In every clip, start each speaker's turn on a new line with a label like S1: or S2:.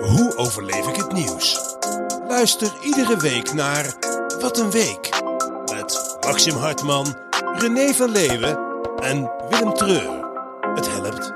S1: Hoe overleef ik het nieuws? Luister iedere week naar Wat een Week. Met Maxim Hartman, René van Leeuwen en Willem Treur. Het helpt.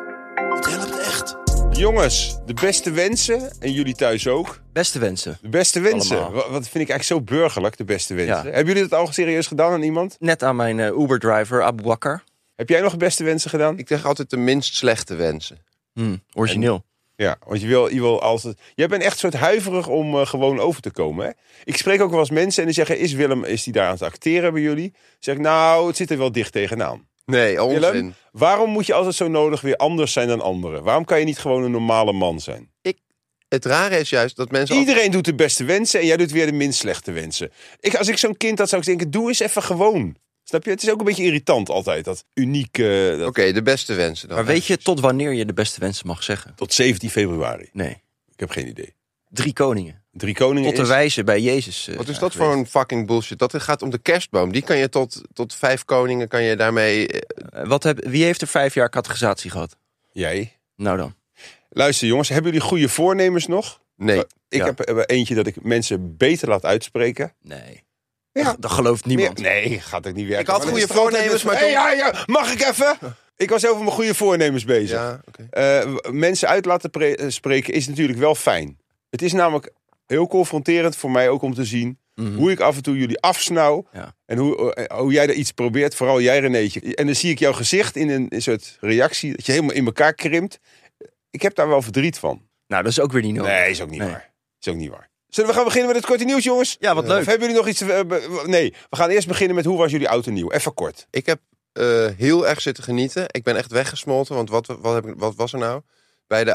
S1: Het helpt echt.
S2: Jongens, de beste wensen. En jullie thuis ook.
S3: Beste wensen.
S2: De beste wensen.
S3: Allemaal.
S2: Wat wat vind ik eigenlijk zo burgerlijk, de beste wensen.
S3: Ja.
S2: Hebben jullie dat al serieus gedaan aan iemand?
S3: Net aan mijn eh, Uber-driver Abu Bakr.
S2: Heb jij nog de beste wensen gedaan?
S4: Ik zeg altijd de minst slechte wensen.
S3: Hm, origineel.
S2: Ja, want je wil, je wil altijd... Jij bent echt soort huiverig om eh, gewoon over te komen, hè? Ik spreek ook wel eens mensen en die zeggen... Is Willem, is die daar aan het acteren bij jullie? Dan zeg ik, nou, het zit er wel dicht tegenaan.
S4: Nee, onzin.
S2: Willem, waarom moet je altijd zo nodig weer anders zijn dan anderen? Waarom kan je niet gewoon een normale man zijn?
S4: Het rare is juist dat mensen... altijd-
S2: Iedereen doet de beste wensen en jij doet weer de minst slechte wensen. Ik, als ik zo'n kind had, zou ik denken, doe eens even gewoon. Snap je? Het is ook een beetje irritant altijd, dat unieke... eh, dat-
S4: Oké, de beste wensen dan.
S3: Maar weet je tot wanneer je de beste wensen mag zeggen?
S2: Tot 17 februari.
S3: Nee.
S2: Ik heb geen idee.
S3: Drie koningen.
S2: Drie koningen
S3: Tot de
S2: is...
S3: wijze bij Jezus. eh,
S4: Wat is
S3: zijn
S4: dat voor
S3: geweest.
S4: een fucking bullshit? Dat gaat om de kerstboom. Die kan je tot, tot vijf koningen kan je daarmee... eh,
S3: Eh, Wat heb, wie heeft er vijf jaar categorisatie gehad?
S2: Jij?
S3: Nou dan.
S2: Luister jongens, hebben jullie goede voornemens nog?
S4: Nee.
S2: Ik
S3: Ja.
S2: heb eh, eentje dat ik mensen beter laat uitspreken.
S3: Nee.
S2: Ja.
S3: Dat, dat gelooft niemand.
S2: Meer- nee, gaat ook niet werken.
S4: Ik had
S2: Maar dan
S4: goede
S2: is het altijd
S4: voornemens,
S2: met-
S4: maar
S2: Hey, ja, ja, mag ik even? Ik was over mijn goede voornemens bezig.
S4: Ja, oké.
S2: Eh, w- mensen uit laten pre- eh, spreken is natuurlijk wel fijn. Het is namelijk heel confronterend voor mij ook om te zien
S3: Mhm.
S2: hoe ik af en toe jullie afsnauw.
S3: Ja.
S2: En hoe, eh, hoe jij er iets probeert, vooral jij Renéetje. En dan zie ik jouw gezicht in een, een soort reactie dat je helemaal in elkaar krimpt. Ik heb daar wel verdriet van.
S3: Nou, dat is ook weer niet nodig.
S2: Nee, is ook niet
S3: Nee.
S2: waar. Is ook niet waar. Zullen we gaan beginnen met het korte nieuws, jongens?
S3: Ja, wat
S2: Of
S3: leuk.
S2: hebben jullie nog iets? eh, be- nee, we gaan eerst beginnen met hoe was jullie oud en nieuw? Even kort.
S4: Ik heb eh, heel erg zitten genieten. Ik ben echt weggesmolten, want wat, wat, heb, ik- wat was er nou? Bij de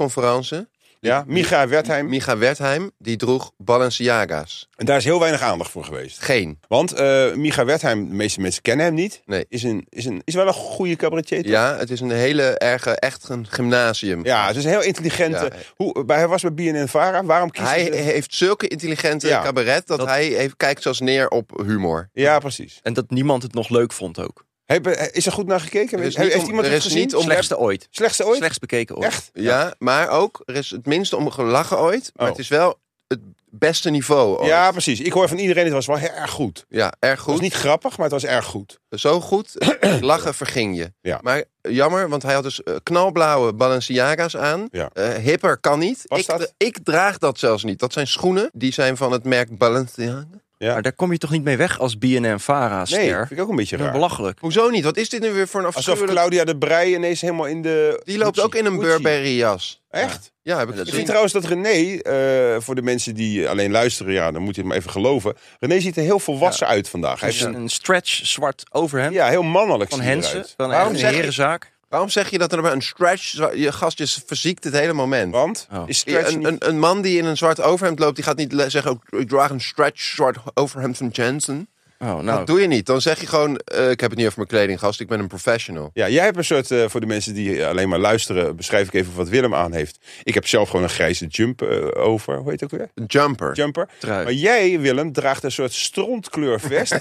S4: oudejaarsconferentie.
S2: Ja, Micha Wertheim.
S4: Micha Wertheim, die droeg Balenciaga's.
S2: En daar is heel weinig aandacht voor geweest.
S4: Geen.
S2: Want eh Micha Wertheim, de meeste mensen kennen hem niet.
S4: Nee.
S2: Is, een, is, een, is wel een goede cabaretier. toch?
S4: Ja, het is een hele erge, echt een gymnasium.
S2: Ja, het is een heel intelligente.
S4: Ja.
S2: Hoe, bij, hij was bij BNN Vara. Waarom kiest
S4: Hij
S2: hij? de-
S4: heeft zulke intelligente
S2: dus. Ja,
S4: cabaret dat,
S3: dat-
S4: hij heeft, kijkt zelfs neer op humor.
S2: Ja, precies.
S3: En dat niemand het nog leuk vond ook.
S2: Heb- is er goed naar gekeken?
S4: Er is
S2: Heeft
S4: niet om-
S2: iemand
S4: er
S2: het
S4: is
S2: gezien?
S4: niet om-
S3: Slechtste ooit.
S2: Slechtste ooit?
S3: Slechts bekeken ooit.
S2: Echt?
S4: Ja, maar ook, er is het minste om gelachen ooit, maar
S2: Oh.
S4: het is wel het beste niveau ooit.
S2: Ja, precies. Ik hoor van iedereen, het was wel heel erg goed.
S4: Ja, erg
S2: Het was
S4: goed.
S2: niet grappig, maar het was erg goed.
S4: Zo goed, het lachen verging je.
S2: Ja.
S4: Maar jammer, want hij had dus eh, knalblauwe Balenciaga's aan.
S2: Ja.
S4: Eh, hipper kan niet.
S2: Past
S4: Ik,
S2: dat?
S4: dra- ik draag dat zelfs niet. Dat zijn schoenen, die zijn van het merk Balenciaga.
S3: Maar daar kom je toch niet mee weg als BNM
S2: Nee,
S3: Vara-ster?
S2: vind ik ook een beetje
S3: Dat is
S2: raar.
S3: belachelijk.
S4: Hoezo niet? Wat is dit nu weer voor een
S2: Alsof
S4: afschuwelijk...
S2: Claudia de Brij ineens helemaal in de...
S4: Die loopt
S2: Gucci.
S4: ook in een
S2: Gucci.
S4: Burberry jas.
S2: Echt?
S4: Ja, heb
S2: Ik
S3: Ja, dat
S4: ik
S3: Zien.
S2: vind
S4: gezien.
S2: trouwens dat René, eh, voor de mensen die alleen luisteren, ja, dan moet je het maar even geloven. René ziet er heel volwassen uit vandaag. Hij
S3: Dus
S2: heeft een,
S3: een stretch zwart overhemd
S2: ja, heel mannelijk
S3: van
S2: ziet hij
S3: Hensen.
S2: eruit.
S3: Van
S4: Waarom
S3: echt
S4: zeg
S3: een
S4: ik-
S3: herenzaak.
S4: Waarom zeg je dat er maar een stretch... Je gastje verziekt het hele moment.
S2: Want
S3: Oh.
S2: is
S4: Ja,
S2: stretch
S4: een,
S2: niet-
S4: een, een man die in een zwart overhemd loopt, die gaat niet le- zeggen... "Oh, ik draag een stretch zwart overhemd van Jensen.
S3: Oh,
S4: Dat
S3: nou,
S4: doe je niet. Dan zeg je gewoon, eh, ik heb het niet over mijn kleding, gast. Ik ben een professional.
S2: Ja, jij hebt een soort, eh, voor de mensen die alleen maar luisteren, beschrijf ik even wat Willem aan heeft. Ik heb zelf gewoon een grijze jump eh, over, hoe heet het ook weer?
S4: Een jumper.
S2: Jumper.
S3: Trui.
S2: Maar jij, Willem, draagt een soort strontkleur vest.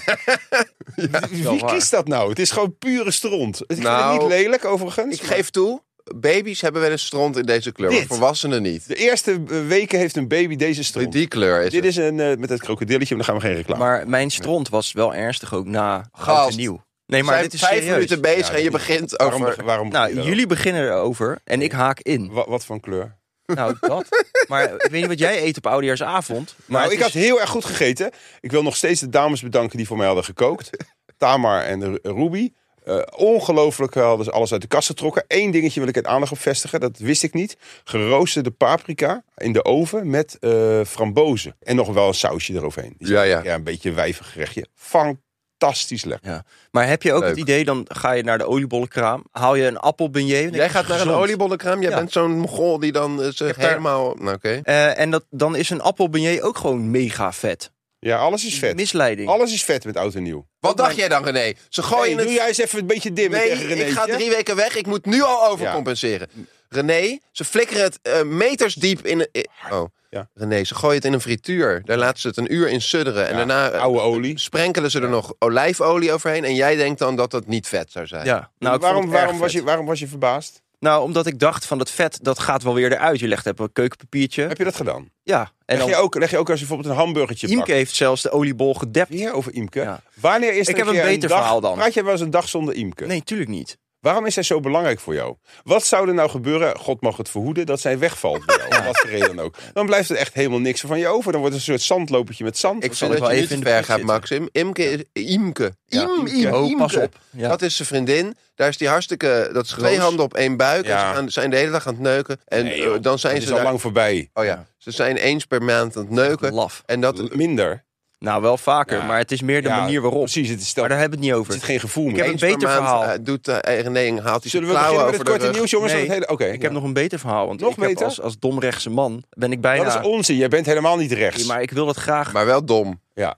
S2: Wie
S3: wel waar.
S2: kiest dat nou? Het is gewoon pure stront. Ik vind het
S4: Nou,
S2: niet lelijk, overigens.
S4: Ik geef toe, baby's hebben wel eens stront in deze kleur.
S2: Dit.
S4: Maar volwassenen niet.
S2: De eerste eh, weken heeft een baby deze stront.
S4: Die kleur is
S2: Dit
S4: het.
S2: is een, eh, met het krokodilletje, maar dan gaan we geen reclame.
S3: maar mijn stront was wel ernstig ook na
S4: Gast.
S3: oud en nieuw. Nee,
S4: We
S3: maar
S4: zijn
S3: dit is
S4: vijf
S3: serieus.
S4: minuten bezig
S2: Ja,
S4: en je
S2: dit-
S4: begint
S2: waarom,
S4: over...
S2: beg- waarom
S3: Nou,
S2: begin je
S3: jullie beginnen erover en ik haak
S2: daarover?
S3: in.
S2: Wa- wat voor kleur?
S3: Nou, dat. Maar ik weet niet wat jij eet op oudejaarsavond. Maar
S2: nou,
S3: het
S2: ik had
S3: is-
S2: heel erg goed gegeten. Ik wil nog steeds de dames bedanken die voor mij hadden gekookt. Tamar en Ru- Ruby. Eh, ongelooflijk hadden ze alles uit de kast getrokken. Eén dingetje wil ik het aandacht op vestigen. Dat wist ik niet. Geroosterde paprika in de oven met eh, frambozen. En nog wel een sausje eroverheen. Die is-
S4: Ja, ja.
S2: ja, een beetje een wijvig gerechtje. Fantastisch lekker.
S3: Ja. Maar heb je ook
S4: Leuk.
S3: het idee, dan ga je naar de oliebollenkraam, haal je een appelbeignet. dan
S4: Jij
S3: is
S4: gaat naar een
S3: gezond.
S4: oliebollenkraam. Jij
S3: Ja.
S4: bent zo'n mogol die dan eh, zich
S3: heb daar-
S4: helemaal... Nou, oké.
S3: Eh, en dat, dan is een appelbeignet ook gewoon mega vet.
S2: Ja, alles is vet.
S3: Misleiding.
S2: Alles is vet met oud en nieuw.
S4: Wat dacht jij dan, René? Ze gooien
S2: Hey,
S4: het
S2: doe jij eens even een beetje dimmen
S4: Nee,
S2: tegen
S4: ik ga
S2: Renéetje.
S4: drie weken weg. Ik moet nu al overcompenseren. René, ze flikkeren het eh, meters diep in... een- oh,
S2: Ja.
S4: René, ze gooien het in een frituur. Daar laten ze het een uur in sudderen. En
S2: Ja,
S4: daarna eh,
S2: Oude olie.
S4: sprenkelen ze er nog olijfolie overheen. En jij denkt dan dat dat niet vet zou zijn.
S3: Ja, nou, ik vond
S2: waarom,
S3: het
S2: waarom,
S3: erg
S2: was
S3: vet.
S2: je, waarom was je verbaasd?
S3: Nou, omdat ik dacht van dat vet, dat gaat wel weer eruit. Je legt even een keukenpapiertje.
S2: Heb je dat gedaan?
S3: Ja.
S2: Leg,
S3: En dan,
S2: je ook, leg je ook als je bijvoorbeeld een hamburgertje
S3: Imke
S2: pakt?
S3: heeft zelfs de oliebol gedept.
S2: Weer over Imke.
S3: Ja.
S2: Wanneer is er
S3: Ik heb een
S2: keer
S3: beter
S2: dag,
S3: verhaal dan.
S2: Praat jij wel eens een dag zonder Imke?
S3: Nee, tuurlijk niet.
S2: Waarom is zij zo belangrijk voor jou? Wat zou er nou gebeuren, God mag het verhoeden, dat zij wegvalt bij jou? Om wat voor reden dan ook. Dan blijft er echt helemaal niks van je over. Dan wordt het een soort zandlopertje met zand.
S4: Ik
S3: zal
S4: vind
S3: ik
S4: dat
S3: wel
S4: je
S3: even
S4: even
S3: in de
S4: ver
S3: kroeg
S4: gaat,
S3: zitten.
S4: Max. Im- Imke is... Imke. Im, Im,
S3: Oh,
S4: Imke.
S3: pas op. Ja.
S4: Dat is zijn vriendin. Daar is die hartstikke... Dat is twee
S3: Roos.
S4: handen op één buik.
S2: Ja.
S4: En ze gaan- zijn de hele dag aan het neuken. En
S2: Nee, joh,
S4: eh, dan
S2: dat
S4: zijn
S2: is
S4: ze
S2: al
S4: daar...
S2: lang voorbij.
S4: Oh ja. Ze zijn eens per maand aan het neuken.
S3: Laf.
S4: En dat...
S2: Minder.
S3: Nou, wel vaker,
S2: Ja.
S3: maar het is meer de
S2: Ja,
S3: manier waarop.
S2: Precies, het is
S3: Maar
S2: dat,
S3: daar
S2: er
S3: hebben we het niet over.
S2: zit geen gevoel
S3: heb
S2: meer.
S3: een
S4: Eens per
S3: beter
S4: maand,
S3: verhaal.
S4: eh, doet eh, René haalt hij zijn
S2: Zullen we
S4: klauwen
S2: beginnen
S4: over
S2: met het
S4: de
S2: korte
S4: rug.
S2: nieuws, jongens?
S3: Nee,
S2: Want het hele- Oké,
S3: Ik heb nog een beter verhaal. Want
S2: Nog
S3: ik heb
S2: beter?
S3: Als, als domrechtse man ben ik bijna...
S2: Dat is onzin. Jij bent helemaal niet rechts.
S3: Ja, maar ik wil dat graag.
S4: Maar wel dom.
S2: Ja.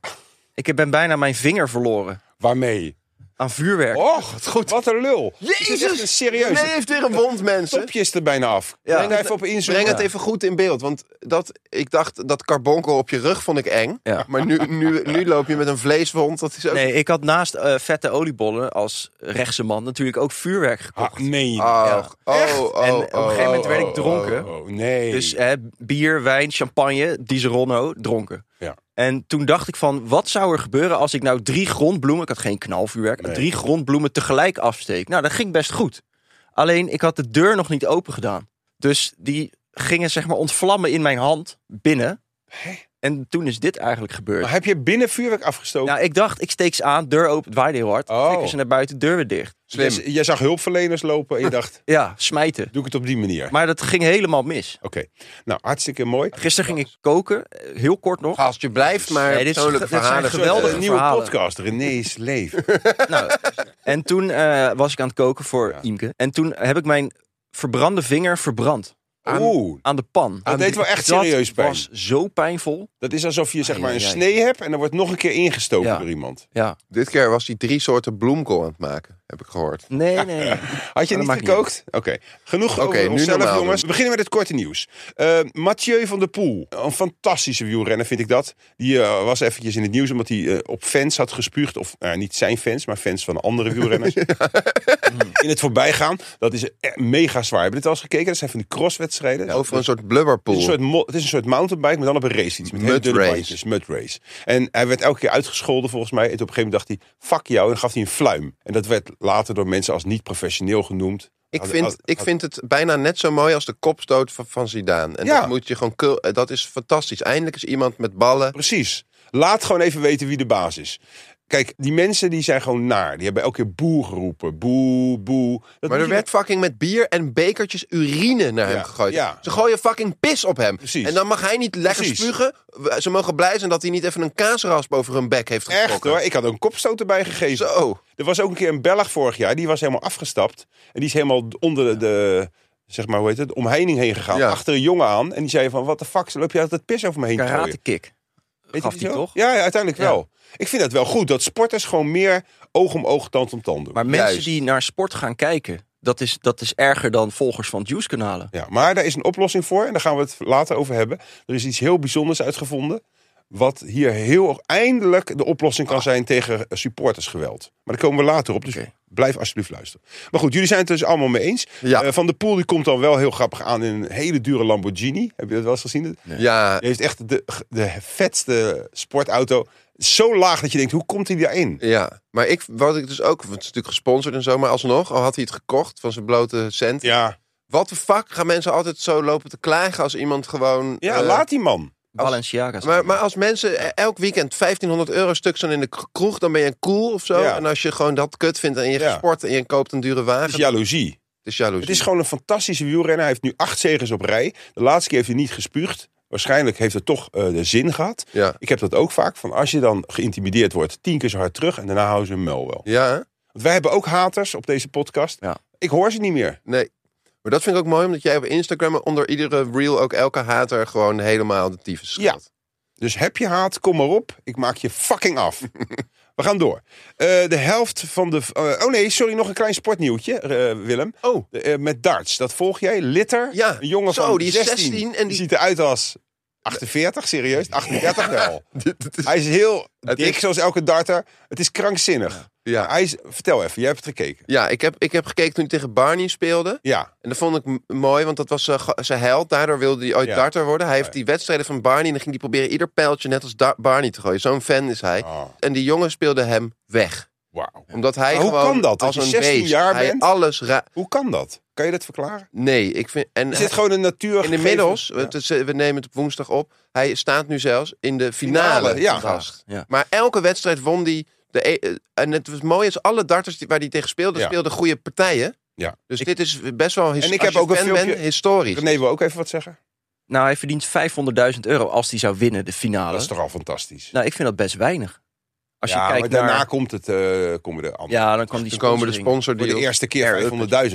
S3: Ik ben bijna mijn vinger verloren
S2: Waarmee?
S3: aan vuurwerk.
S2: Och, wat goed. Wat een lul. Jezus. Dit is echt een serieus.
S4: Nee, heeft weer een wond, mensen.
S2: Topje is er bijna af.
S3: Ja.
S2: Breng daar even op inzoomen.
S4: Breng het even goed in beeld. Want dat, ik dacht, dat carbonkel op je rug vond ik eng.
S3: Ja.
S4: Maar nu, nu, nu loop je met een vleeswond. Dat is ook...
S3: Nee, ik had naast eh, vette oliebollen als rechtse man natuurlijk ook vuurwerk gekocht.
S2: Ah, nee.
S4: Oh, oh, oh,
S3: En op een
S4: oh,
S3: gegeven moment
S4: oh,
S3: werd ik
S4: oh,
S3: dronken.
S2: Oh, oh, nee.
S3: Dus hè, bier, wijn, champagne, Dizeronno, dronken.
S2: Ja.
S3: En toen dacht ik van, wat zou er gebeuren als ik nou drie grondbloemen... Ik had geen knalvuurwerk,
S2: Nee.
S3: drie grondbloemen tegelijk afsteek. Nou, dat ging best goed. Alleen, ik had de deur nog niet open gedaan. Dus die gingen zeg maar ontvlammen in mijn hand, binnen. En toen is dit eigenlijk gebeurd.
S2: Maar heb je binnen vuurwerk afgestoken?
S3: Nou, ik dacht, ik steek ze aan, deur open, het waaide heel hard.
S2: Oh.
S3: Oh. ze naar buiten, deur weer dicht.
S2: Jij-
S4: Slim.
S2: Jij, zag hulpverleners lopen en je dacht,
S3: Ja, smijten.
S2: doe ik het op die manier.
S3: Maar dat ging helemaal mis.
S2: Oké, nou hartstikke mooi.
S3: Gisteren ging ik koken, eh, heel kort nog.
S4: Als je blijft, maar
S3: Nee, dit is-
S4: persoonlijke
S3: dit zijn
S4: verhalen.
S2: Een
S3: geweldige
S2: soort, eh, nieuwe
S3: verhalen.
S2: podcast, René's Leven.
S3: Nou, en toen eh, was ik aan het koken voor
S2: Ja.
S3: Imke. En toen heb ik mijn verbrande vinger verbrand Aan-
S2: Oeh,
S3: aan de pan. Aan
S2: deed
S3: die-
S2: wel echt serieus pijn.
S3: Dat was zo pijnvol.
S2: dat is alsof je zeg
S3: Ai,
S2: maar een
S3: ai, ai.
S2: snee hebt en er wordt nog een keer ingestoken
S3: Ja.
S2: door iemand.
S3: Ja.
S4: Dit keer was hij drie soorten bloemkool aan het maken, heb ik gehoord.
S3: Nee, nee.
S2: Had
S3: nee.
S4: Nou,
S2: je
S3: Maar dat
S2: niet
S3: maakt niet
S2: gekookt? Oké, genoeg
S4: Oké,
S2: over
S4: nu
S2: onszelf
S4: normaal
S2: jongens.
S4: doen.
S2: We beginnen met het korte nieuws. Eh, Mathieu van der Poel, een fantastische wielrenner vind ik dat. Die eh, was eventjes in het nieuws omdat hij eh, op fans had gespuugd. Of nou, niet zijn fans, maar fans van andere wielrenners. In het voorbijgaan, dat is eh, mega zwaar. Heb je dit al eens gekeken? Dat zijn van die crosswedstrijden.
S4: Over
S2: Dat-
S4: een soort
S2: Het
S4: blubberpool.
S2: is, een soort mo- het is een soort mountainbike, maar dan op een race iets. Met hele
S4: Mud
S2: dunne
S4: race.
S2: bandjes, mud race. En hij werd elke keer uitgescholden volgens mij. En op een gegeven moment dacht hij, fuck jou. En dan gaf hij een fluim. En dat werd later door mensen als niet professioneel genoemd.
S4: Ik
S2: Had-
S4: vind,
S2: had-
S4: ik
S2: had-
S4: vind het bijna net zo mooi als de kopstoot van, van Zidane. En
S2: Ja.
S4: dat moet je gewoon... kul- eh, Dat is fantastisch. Eindelijk is iemand met ballen.
S2: Precies. Laat gewoon even weten wie de baas is. Kijk, die mensen die zijn gewoon naar. Die hebben elke keer boe geroepen. Boe, boe. Dat
S4: Maar
S2: moet
S4: er
S2: je-
S4: werd fucking met bier en bekertjes urine naar
S2: Ja,
S4: hem gegooid.
S2: ja.
S4: Ze gooien fucking pis op hem.
S2: Precies.
S4: En dan mag hij niet lekker
S2: Precies.
S4: spugen. We- Ze mogen blij zijn dat hij niet even een kaasrasp over hun bek heeft getrokken.
S2: Echt hoor, ik had ook een kopstoot erbij gegeven.
S4: Zo.
S2: Er was ook een keer een Belg vorig jaar, die was helemaal afgestapt. En die is helemaal onder de, de, zeg maar, hoe heet het, de omheining heen gegaan.
S4: Ja.
S2: Achter een jongen aan. En die zei van, wat de fuck, loop je altijd pis over me heen te gooien?
S3: Karate kick.
S2: Weet je
S3: Gaf
S2: die
S3: die
S2: zo?
S3: toch?
S2: Ja, ja, uiteindelijk
S3: Ja.
S2: wel. Ik vind dat wel goed, dat sporters gewoon meer oog om oog, tand om tand doen.
S3: Maar mensen
S4: Juist.
S3: die naar sport gaan kijken, dat is, dat is erger dan volgers van Juice-kanalen.
S2: Ja, maar daar is een oplossing voor en daar gaan we het later over hebben. Er is iets heel bijzonders uitgevonden. Wat hier heel eindelijk de oplossing kan zijn tegen supportersgeweld. Maar daar komen we later op, dus
S3: Ah. Oké.
S2: blijf alsjeblieft luisteren. Maar goed, jullie zijn het dus allemaal mee eens.
S4: Ja.
S2: Eh, Van der Poel die komt dan wel heel grappig aan in een hele dure Lamborghini. Heb je dat wel eens gezien? Die
S4: Ja,
S2: heeft echt de, de vetste sportauto. Zo laag dat je denkt, hoe komt hij daarin?
S4: ja. Maar ik, wat ik dus ook... want Het is natuurlijk gesponsord en zo, maar alsnog... Al had hij het gekocht van zijn blote cent.
S2: Ja,
S4: Wat de fuck gaan mensen altijd zo lopen te klagen als iemand gewoon...
S2: ja
S4: eh,
S2: laat die man.
S3: Balenciaga's.
S4: Maar, maar als mensen e-, elk weekend 1500 euro stuk zijn in de k- kroeg, dan ben je cool of zo.
S2: Ja.
S4: En als je gewoon dat kut vindt en je
S2: Ja.
S4: sport en je koopt een dure wagen,
S2: Het is jaloezie.
S4: het is jaloezie.
S2: Het is gewoon een fantastische wielrenner. Hij heeft nu acht zegens op rij. De laatste keer heeft hij niet gespuugd. Waarschijnlijk heeft het toch eh, de zin gehad.
S4: Ja.
S2: Ik heb dat ook vaak. Van als je dan geïntimideerd wordt, tien keer zo hard terug. En daarna houden ze hun mel wel.
S4: Ja, hè?
S2: Want wij hebben ook haters op deze podcast.
S3: Ja.
S2: Ik hoor ze niet meer.
S4: nee. Maar dat vind ik ook mooi, omdat jij op Instagram onder iedere reel ook elke hater gewoon helemaal de tyfus schat.
S2: Dus heb je haat, kom maar op. Ik maak je fucking af. We gaan door. Eh, de helft van de... eh, oh nee, sorry, nog een klein sportnieuwtje, eh, Willem.
S4: Oh.
S2: De, eh, met darts, dat volg jij. Litter,
S4: Ja.
S2: een jongen
S4: Zo,
S2: van
S4: die is
S2: 16.
S4: 16 en die-
S2: ziet eruit als 48, serieus? 38 wel.
S4: Dit- dit is-
S2: Hij is heel
S4: Het
S2: dik,
S4: is-
S2: zoals elke darter. Het is krankzinnig.
S4: ja.
S2: Hij is, vertel even, jij hebt het gekeken.
S4: Ja, ik heb, ik heb gekeken toen hij tegen Barney speelde.
S2: Ja,
S4: En dat vond ik m- mooi, want dat was zijn ge- zijn held. Daardoor wilde hij ooit
S2: Ja.
S4: darter worden. Hij heeft
S2: Ja.
S4: die wedstrijden van Barney en dan ging hij proberen ieder pijltje net als Da- Barney te gooien. Zo'n fan is hij.
S2: Oh,
S4: En die jongen speelde hem weg.
S2: wauw.
S4: Omdat hij
S2: Maar hoe
S4: gewoon
S2: kan dat? Dat
S4: als
S2: je
S4: een
S2: 16
S4: beest,
S2: jaar
S4: hij
S2: bent?
S4: alles ra-
S2: Hoe kan dat? Kan je dat verklaren?
S4: Nee, ik vind... En
S2: Is
S4: hij-
S2: dit gewoon een natuur?
S4: En inmiddels,
S2: gegeven-
S4: het is, eh, we nemen het op woensdag op. Hij staat nu zelfs in de finale.
S2: Finale, ja.
S4: die gast.
S3: Ja.
S4: Maar elke wedstrijd won hij. De, e- eh, en het was mooi is alle darters die, waar hij tegen speelde,
S2: Ja.
S4: speelden goede partijen.
S2: Ja.
S4: Dus dit is best wel his,
S2: En ik
S4: als
S2: heb
S4: je
S2: ook een
S4: fan
S2: filmpje-
S4: bent, historisch.
S2: Ja. René wil ook even wat zeggen.
S3: Nou, hij verdient 500.000 euro als hij zou winnen de finale.
S2: Dat is toch al fantastisch.
S3: Nou, ik vind dat best weinig. Als
S2: ja,
S3: je kijkt
S2: maar daarna
S3: naar...
S2: komt het, eh komen de andere.
S3: Ja, dan kan die
S4: Dan komen de
S3: sponsoring.
S4: sponsor
S2: Voor
S4: die
S2: de eerste keer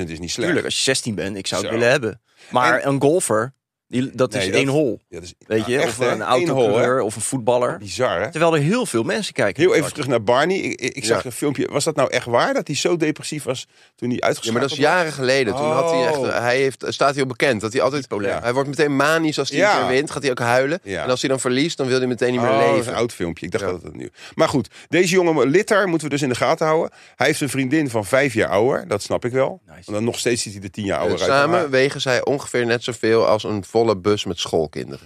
S2: 500.000 is niet slecht.
S3: Tuurlijk, als je 16 bent, ik zou het
S2: Zo.
S3: willen hebben. Maar een golfer, die, dat
S2: Nee,
S3: is
S2: dat-
S3: één hol.
S2: Ja, dat is,
S3: Weet
S2: nou,
S3: je,
S2: echt,
S3: of
S2: hè?
S3: een
S2: Eén
S3: autocoureur
S2: hol,
S3: of een
S2: hè?
S3: voetballer.
S2: Bizar, hè?
S3: Terwijl er heel veel mensen kijken.
S2: Heel even terug naar Barney. Ik, ik, ik zag
S4: Ja.
S2: een filmpje. Was dat nou echt waar dat hij zo depressief was toen hij
S4: Ja,
S2: uitgeschakeld
S4: maar dat is jaren geleden. Toen had hij echt,
S2: Oh.
S4: hij heeft, staat hij op bekend dat hij altijd.
S2: Bipolair.
S4: Hij wordt meteen manisch als hij
S2: Ja.
S4: een keer wint. Gaat hij ook huilen.
S2: Ja.
S4: En als hij dan verliest, dan wil hij meteen niet meer
S2: Oh, dat is
S4: leven.
S2: een oud filmpje. Ik dacht
S4: Ja.
S2: dat het nu. Maar goed, deze jonge Litter moeten we dus in de gaten houden. Hij heeft een vriendin van vijf jaar ouder. Dat snap ik wel.
S3: Nice.
S2: Want dan nog steeds ziet hij er tien jaar
S4: En
S2: ouder uit.
S4: Eh, Samen
S2: Maar
S4: wegen zij ongeveer net zoveel als een volle bus met schoolkinderen.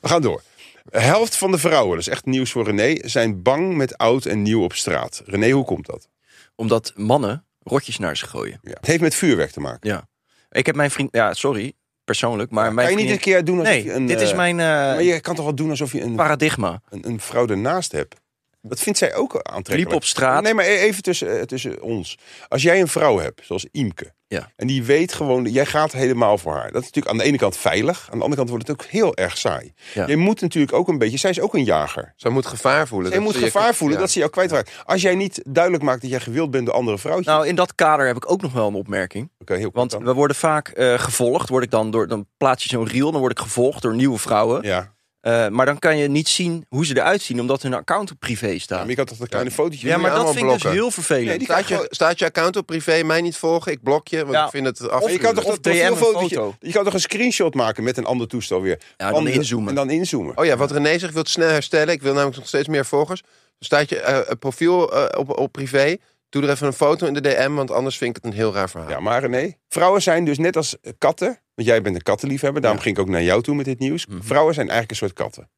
S2: We gaan door. De helft van de vrouwen, dat is echt nieuws voor René, zijn bang met oud en nieuw op straat. René, hoe komt dat?
S3: Omdat mannen rotjes naar ze gooien.
S2: Ja. Het heeft met vuurwerk te maken.
S3: Ik heb mijn vriend... Ja, sorry, persoonlijk. Maar
S2: Kan
S3: mijn
S2: je niet een
S3: vriendin-
S2: keer doen alsof
S3: Nee,
S2: je een...
S3: dit is
S2: eh,
S3: mijn eh,
S2: Maar je kan toch wel doen alsof je een,
S3: paradigma.
S2: een, een vrouw ernaast hebt? Dat vindt zij ook aantrekkelijk.
S3: Liep op straat.
S2: Nee, maar e- even tussen, eh, tussen ons. Als jij een vrouw hebt, zoals Imke.
S3: Ja.
S2: En die weet gewoon, jij gaat helemaal voor haar. Dat is natuurlijk aan de ene kant veilig. Aan de andere kant wordt het ook heel erg saai.
S3: Ja.
S2: Je moet natuurlijk ook een beetje... Zij is ook een jager.
S4: Zij moet gevaar voelen.
S2: Zij
S4: dat
S2: moet
S4: ze je-
S2: gevaar voelen
S4: ja.
S2: dat ze jou kwijtraakt. Als jij niet duidelijk maakt dat jij gewild bent door andere vrouwtjes...
S3: Nou, in dat kader heb ik ook nog wel een opmerking.
S2: Oké, heel kort
S3: Want
S2: dan.
S3: we worden vaak eh, gevolgd. Word ik dan, door, dan plaats je zo'n reel, dan word ik gevolgd door nieuwe vrouwen.
S2: Ja.
S3: Eh, maar dan kan je niet zien hoe ze eruit zien, omdat hun account op privé
S2: Ja,
S3: staat.
S2: maar ik had toch een kleine fotootje.
S3: Ja,
S4: moet
S3: maar
S4: je
S3: dat
S4: allemaal
S3: vind ik dus
S4: blokken.
S3: heel vervelend.
S2: Nee, die
S4: Staat je,
S2: Gewoon-
S4: staat je account op privé, mij niet volgen, ik blok je, want
S3: Ja.
S4: ik vind het
S2: Maar
S4: af.
S2: je kan toch
S3: of
S2: dat
S3: DM een
S2: profielfotootje-
S3: foto.
S2: Je kan toch een screenshot maken met een ander toestel weer.
S3: Ja,
S2: Van
S3: Ah, dan
S2: de-
S3: inzoomen.
S2: dus- En dan inzoomen.
S4: Oh ja, wat René zegt, ik wil het snel herstellen. Ik wil namelijk nog steeds meer volgers. Staat je eh, een profiel eh, op, op privé, doe er even een foto in de DM, want anders vind ik het een heel raar verhaal.
S2: Ja, maar nee. Vrouwen zijn dus net als eh, katten. Want jij bent een kattenliefhebber. Daarom ging ik ook naar jou toe met dit nieuws.
S3: Mhm.
S2: Vrouwen zijn eigenlijk een soort katten.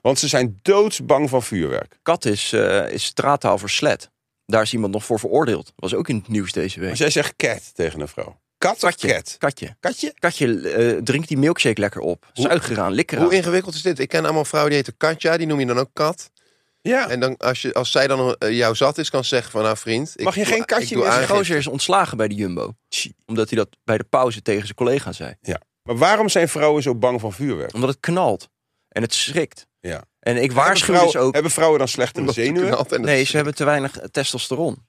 S2: Want ze zijn doodsbang van vuurwerk.
S3: Kat is, eh, is straattaal voor slet. Daar is iemand nog voor veroordeeld. Was ook in het nieuws deze week.
S2: Als jij zegt cat tegen een vrouw. Kat of cat?
S3: Katje.
S2: Katje?
S3: Katje eh, drinkt die milkshake lekker op.
S2: Hoe-
S3: Zuig eraan, lik eraan.
S4: Hoe ingewikkeld is dit? Ik ken allemaal vrouwen die heten Katja, die noem je dan ook Kat.
S2: Ja.
S4: En dan, als, je, als zij dan eh, jou zat is, kan ze zeggen van nou vriend... Ik
S2: Mag je
S4: doe-
S2: geen katje
S4: ik doe
S2: meer
S3: Die
S2: zeggen?
S4: aangifte.
S3: gozer is ontslagen bij de Jumbo.
S2: Tjie.
S3: Omdat hij dat bij de pauze tegen zijn collega zei.
S2: Maar waarom zijn vrouwen zo bang van vuurwerk?
S3: Omdat het knalt. En het schrikt.
S2: Ja.
S3: En ik
S2: Hebben
S3: waarschuw
S2: vrouwen,
S3: dus ook...
S2: hebben vrouwen dan slechtere
S4: Omdat ze
S2: zenuwen?
S4: knalt en dat-
S3: Nee, ze hebben te weinig eh, testosteron.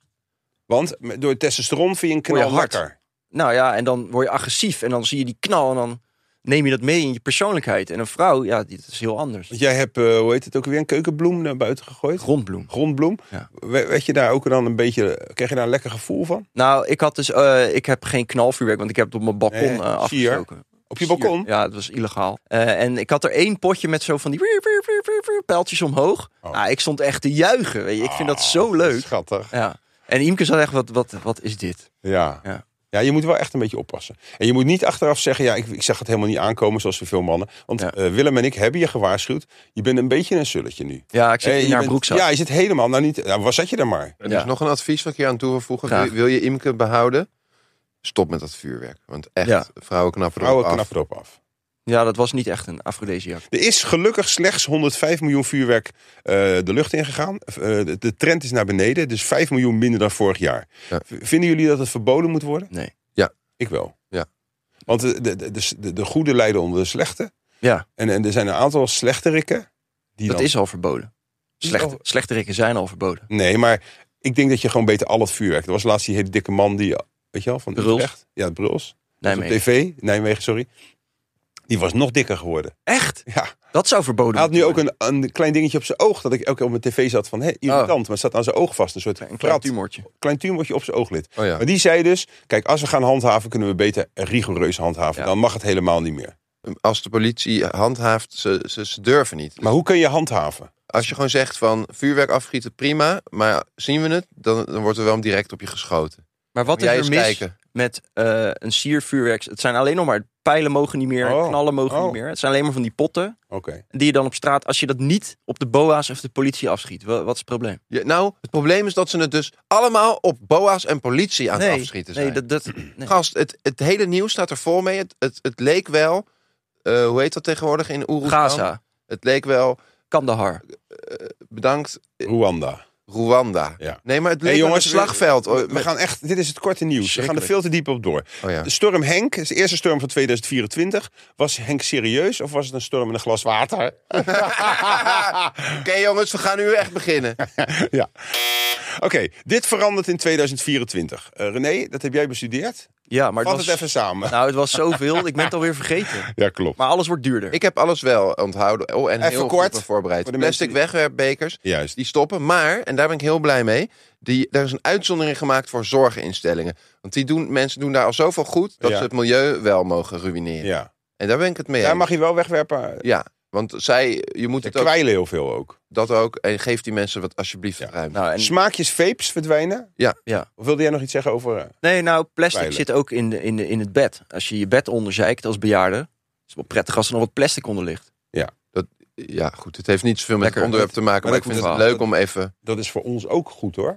S2: Want met- door testosteron vind je een
S3: Word je
S2: knal
S3: hard.
S2: harder.
S3: Nou ja, en dan word je agressief. En dan zie je die knal en dan neem je dat mee in je persoonlijkheid. En een vrouw, ja, dit is heel anders.
S2: Want jij hebt, eh, hoe heet het ook weer, een keukenbloem naar buiten gegooid?
S3: Grondbloem.
S2: Grondbloem.
S3: Ja.
S2: We- Werd je daar ook dan een beetje, kreeg je daar een lekker gevoel van?
S3: Nou, ik had dus, eh, ik heb geen knalvuurwerk, want ik heb het op mijn balkon
S2: Nee,
S3: eh,
S2: zie je.
S3: afgestoken.
S2: Op je balkon?
S3: Ja, het was illegaal. Eh, en ik had er één potje met zo van die wier, wier, wier, wier, wier, pijltjes omhoog.
S2: Oh.
S3: Nou, ik stond echt te juichen. Weet je. Ik vind dat zo
S2: Ah,
S3: leuk.
S2: Schattig.
S3: Ja. En Imke zat echt, wat, wat, wat is dit?
S2: Ja. ja.
S3: Ja.
S2: je moet wel echt een beetje oppassen. En je moet niet achteraf zeggen, ja, ik, ik zag het helemaal niet aankomen zoals veel mannen. Want
S3: Ja.
S2: eh, Willem en ik hebben je gewaarschuwd. Je bent een beetje een sulletje nu.
S3: Ja, ik zit
S2: Eh,
S3: in
S2: je
S3: haar
S2: bent-
S3: broekzak.
S2: Ja, je zit helemaal, nou niet, nou, waar zat je dan maar?
S4: Er
S3: Ja.
S4: is nog een advies wat ik hier aan toe wil voegen.
S3: Graag.
S4: Wil, wil je Imke behouden? Stop met dat vuurwerk. Want echt,
S3: Ja.
S4: vrouwen knappen erop
S2: Vrouwen
S4: af.
S2: knappen erop af.
S3: Ja, dat was niet echt een afrodesiak.
S2: Er is gelukkig slechts 105 miljoen vuurwerk eh, de lucht ingegaan. Eh, de, de trend is naar beneden, dus 5 miljoen minder dan vorig jaar.
S4: Ja.
S2: V- Vinden jullie dat het verboden moet worden?
S3: Nee.
S4: Ja.
S2: Ik wel.
S4: Ja.
S2: Want de, de, de, de, de goede lijden onder de slechte.
S3: Ja.
S2: En, en er zijn een aantal slechterikken. Die
S3: Dat
S2: dan-
S3: is al verboden.
S2: Is
S3: Slecht,
S2: al-
S3: slechterikken zijn al verboden.
S2: Nee, maar ik denk dat je gewoon beter al het vuurwerk... Er was laatst die hele dikke man die... Weet je wel, van
S3: Bruls.
S2: Utrecht. Ja, Bruls. Dat was
S3: Nijmegen.
S2: Op tv, Nijmegen, sorry. Die was nog dikker geworden.
S3: Echt?
S2: Ja.
S3: Dat zou verboden
S2: Hij had nu
S3: moeten
S2: ook een, een klein dingetje op zijn oog. Dat ik elke keer op mijn tv zat van, hé,
S4: Ah.
S2: irritant. Maar het zat aan zijn oog vast. Een soort
S3: worden. Een klein
S2: prat,
S3: tumortje.
S2: klein tumortje op zijn ooglid.
S4: Oh ja.
S2: Maar die zei dus, kijk, als we gaan handhaven... kunnen we beter rigoureus handhaven.
S3: Ja.
S2: Dan mag het helemaal niet meer.
S4: Ehm, als de politie handhaaft, ze, ze, ze durven niet.
S2: Maar hoe kun je handhaven?
S4: Als je gewoon zegt van vuurwerk afschieten, prima. Maar zien we het, dan, dan wordt er wel direct op je geschoten.
S3: Maar wat
S4: Moet jij
S3: is er
S4: eens
S3: mis
S4: kijken.
S3: met eh, een siervuurwerk? Het zijn alleen nog maar pijlen mogen niet meer,
S2: Oh.
S3: knallen mogen
S2: Oh.
S3: niet meer. Het zijn alleen maar van die potten
S2: Oké.
S3: die je dan op straat, als je dat niet op de boa's of de politie afschiet, wa- wat is het probleem?
S4: Je- nou, het probleem is dat ze het dus allemaal op boa's en politie aan het afschieten zijn.
S3: nee, dat, dat, nee.
S4: Gast, het, het hele nieuws staat er vol mee. Het, het, het leek wel, eh, hoe heet dat tegenwoordig in Oeroestan?
S3: Gaza,
S4: Het leek wel,
S3: Kandahar.
S4: bedankt
S2: Eh, Rwanda.
S4: Rwanda.
S2: Ja.
S4: Nee, maar het leek
S2: Hey,
S4: jongens,
S2: jongens,
S4: een slagveld. Oh,
S2: We
S4: met-
S2: gaan echt, dit is het korte nieuws. We gaan er
S3: Schrikkelijk.
S2: veel te diep op door.
S4: oh ja.
S2: De storm Henk, is de eerste storm van 2024. Was Henk serieus of was het een storm in een glas water?
S4: Oké jongens, we gaan nu echt beginnen.
S2: ja. Oké, dit verandert in 2024. Eh, René, dat heb jij bestudeerd.
S3: Ja, maar
S2: Vat
S3: was,
S2: het even samen.
S3: Nou, het was zoveel, ik ben het alweer vergeten.
S2: ja, klopt.
S3: Maar alles wordt duurder.
S4: Ik heb alles wel onthouden. Oh, en
S2: Even
S4: heel
S2: kort,
S4: goed me voorbereid.
S2: voor de mensen
S4: Plastic
S2: die-
S4: wegwerpbekers,
S2: Juist.
S4: die stoppen. Maar, en daar ben ik heel blij mee, die, daar is een uitzondering gemaakt voor zorginstellingen. Want die doen, mensen doen daar al zoveel goed, dat
S2: Ja.
S4: ze het milieu wel mogen ruïneren.
S2: Ja.
S4: En daar ben ik het mee
S2: Daar
S4: eens.
S2: mag je wel wegwerpen.
S4: Ja, want zij, je moet
S2: Ze
S4: het ook,
S2: kwijlen heel veel ook.
S4: dat ook. En geef die mensen wat alsjeblieft
S2: Ja.
S4: ruimte.
S3: Nou, en,
S2: Smaakjes vapes verdwijnen.
S4: Ja.
S3: Ja.
S2: Of wilde jij nog iets zeggen over... eh,
S3: nee, nou, plastic
S2: Pijlen.
S3: zit ook in, de, in, de, in het bed. Als je je bed onderzeikt als bejaarde, is het wel prettig als er nog wat plastic onder ligt.
S4: ja, goed. Het heeft niet zoveel met
S3: Lekker.
S4: het onderwerp te maken, maar,
S2: Maar
S4: ik
S2: dat-
S4: vind het
S2: dat-
S4: leuk om even...
S2: dat is voor ons ook goed hoor.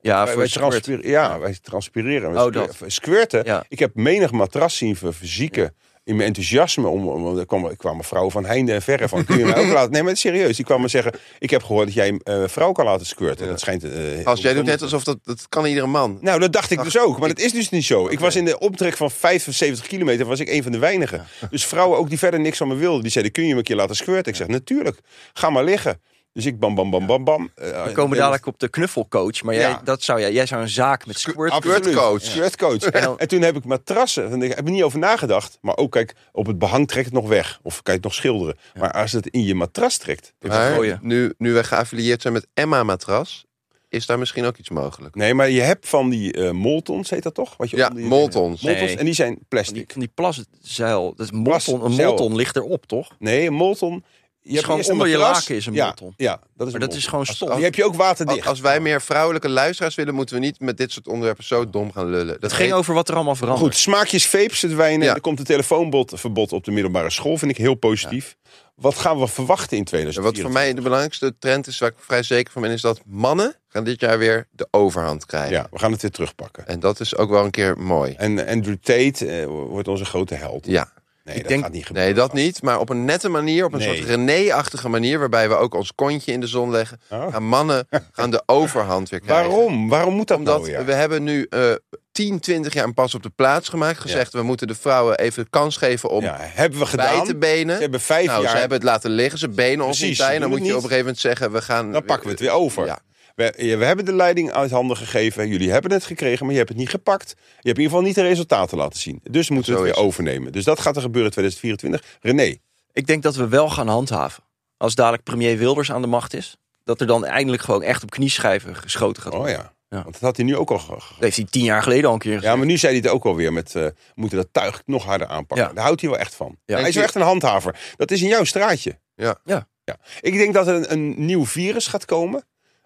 S3: Ja,
S2: wij,
S3: voor
S2: wij,
S3: je squirt.
S2: transpireren, ja wij transpireren.
S3: Oh,
S2: We
S3: dat.
S2: squir- Squirten.
S3: Ja.
S2: Ik heb menig matras zien ver- verzieken. In mijn enthousiasme. Om, om, er kwam, er kwamen vrouwen van heinde en verre van. Kun je mij ook laten... Nee, maar serieus. Die kwamen zeggen... Ik heb gehoord dat jij een vrouw kan laten squirten. Dat schijnt... eh,
S4: Als jij doet net alsof dat, dat kan iedere man.
S2: Nou, dat dacht ik
S4: Ach,
S2: dus ook. Maar dat is dus niet zo. Ik was in de omtrek van 75 kilometer was ik een van de weinigen. Dus vrouwen ook die verder niks van me wilden. Die zeiden, kun je me een keer laten squirten? Ik zeg, natuurlijk. Ga maar liggen. Dus ik bam, bam, bam, bam, bam. Eh,
S3: We komen dadelijk op de knuffelcoach, maar jij,
S2: Ja.
S3: dat zou, jij, jij zou een zaak met squirt...
S2: eh, Absoluut.
S4: Squirtcoach.
S2: Squirtcoach.
S3: En dan-
S2: En toen heb ik matrassen. En ik heb er niet over nagedacht. Maar ook, kijk, op het behang trekt het nog weg. Of kan je het nog schilderen. Maar als het in je matras trekt.
S3: gooien.
S4: Maar nu, nu wij geaffilieerd zijn met Emma Matras, is daar misschien ook iets mogelijk.
S2: Nee, maar je hebt van die eh moltons, heet dat toch? Wat je
S4: Ja,
S2: onder je-
S4: moltons.
S2: Moltons,
S3: Nee.
S2: En die zijn
S3: Van die,
S2: plastic.
S3: van die plaszeil, dat is molton, een
S2: Plaszeil.
S3: molton ligt erop, toch?
S2: Nee, een molton. Je hebt
S3: gewoon
S2: eerst een
S3: onder je
S2: matras.
S3: laken is een
S2: Ja,
S3: molton.
S2: Ja, dat is
S3: Maar
S2: een
S3: dat
S2: molton.
S3: is gewoon
S2: Als-
S3: stof.
S2: Die heb je ook
S4: Al-
S2: waterdicht.
S4: Als wij meer vrouwelijke luisteraars willen, moeten we niet met dit soort onderwerpen zo dom gaan lullen. Dat
S3: Het ging
S4: heet-
S3: over wat er allemaal verandert.
S2: Goed, smaakjes vapes verdwijnen.
S4: Ja.
S2: Er komt een telefoonverbod op de middelbare school. Vind ik heel positief. Wat gaan we verwachten in
S4: En
S2: 2020?
S4: Wat voor mij de belangrijkste trend is, waar ik vrij zeker van ben, is dat mannen gaan dit jaar weer de overhand krijgen.
S2: Ja, we gaan het weer terugpakken.
S4: En dat is ook wel een keer mooi.
S2: En Andrew Tate eh, wordt onze grote held.
S4: Ja,
S2: Nee,
S3: Ik
S2: dat
S3: denk-
S2: gaat niet gebeuren.
S4: nee, dat niet. Maar op een nette manier, op een
S2: Nee.
S4: soort René-achtige manier, waarbij we ook ons kontje in de zon leggen.
S2: Oh.
S4: Gaan mannen gaan de overhand weer krijgen.
S2: Waarom? Waarom moet dat
S4: Omdat
S2: nou weer?
S4: we hebben nu eh 10, 20 jaar een pas op de plaats gemaakt. Gezegd, we moeten de vrouwen even de kans geven om
S2: Ja, hebben we
S4: bij
S2: gedaan.
S4: te
S2: Ze
S4: benen.
S2: hebben vijf
S4: nou,
S2: jaar.
S4: ze hebben het laten liggen, ze benen ons
S2: Precies,
S4: niet
S2: ze
S4: bij. Dan
S2: doen
S4: moet
S2: het
S4: je op een
S2: niet.
S4: gegeven moment zeggen, we gaan...
S2: Dan pakken we het weer over.
S4: Ja.
S2: We, ja, we hebben de leiding uit handen gegeven. Jullie hebben het gekregen, maar je hebt het niet gepakt. Je hebt in ieder geval niet de resultaten laten zien. Dus moeten we het
S4: Zo is
S2: weer
S4: het.
S2: overnemen. Dus dat gaat er gebeuren in 2024. René,
S3: Ik denk dat we wel gaan handhaven. Als dadelijk premier Wilders aan de macht is. Dat er dan eindelijk gewoon echt op knieschijven geschoten gaat
S2: oh
S3: worden.
S2: ja.
S3: Ja.
S2: Want dat had hij nu ook al ge- ge-
S3: Dat heeft hij tien jaar geleden al een keer gezegd.
S2: Ja, maar nu zei hij het ook alweer met... eh, we moeten dat tuig nog harder aanpakken.
S3: Ja.
S2: Daar houdt hij wel echt van.
S3: Ja.
S2: Hij is wel echt een handhaver. Dat is in jouw straatje.
S4: Ja.
S3: Ja.
S2: ja. Ik denk dat er een, een nieuw virus gaat komen.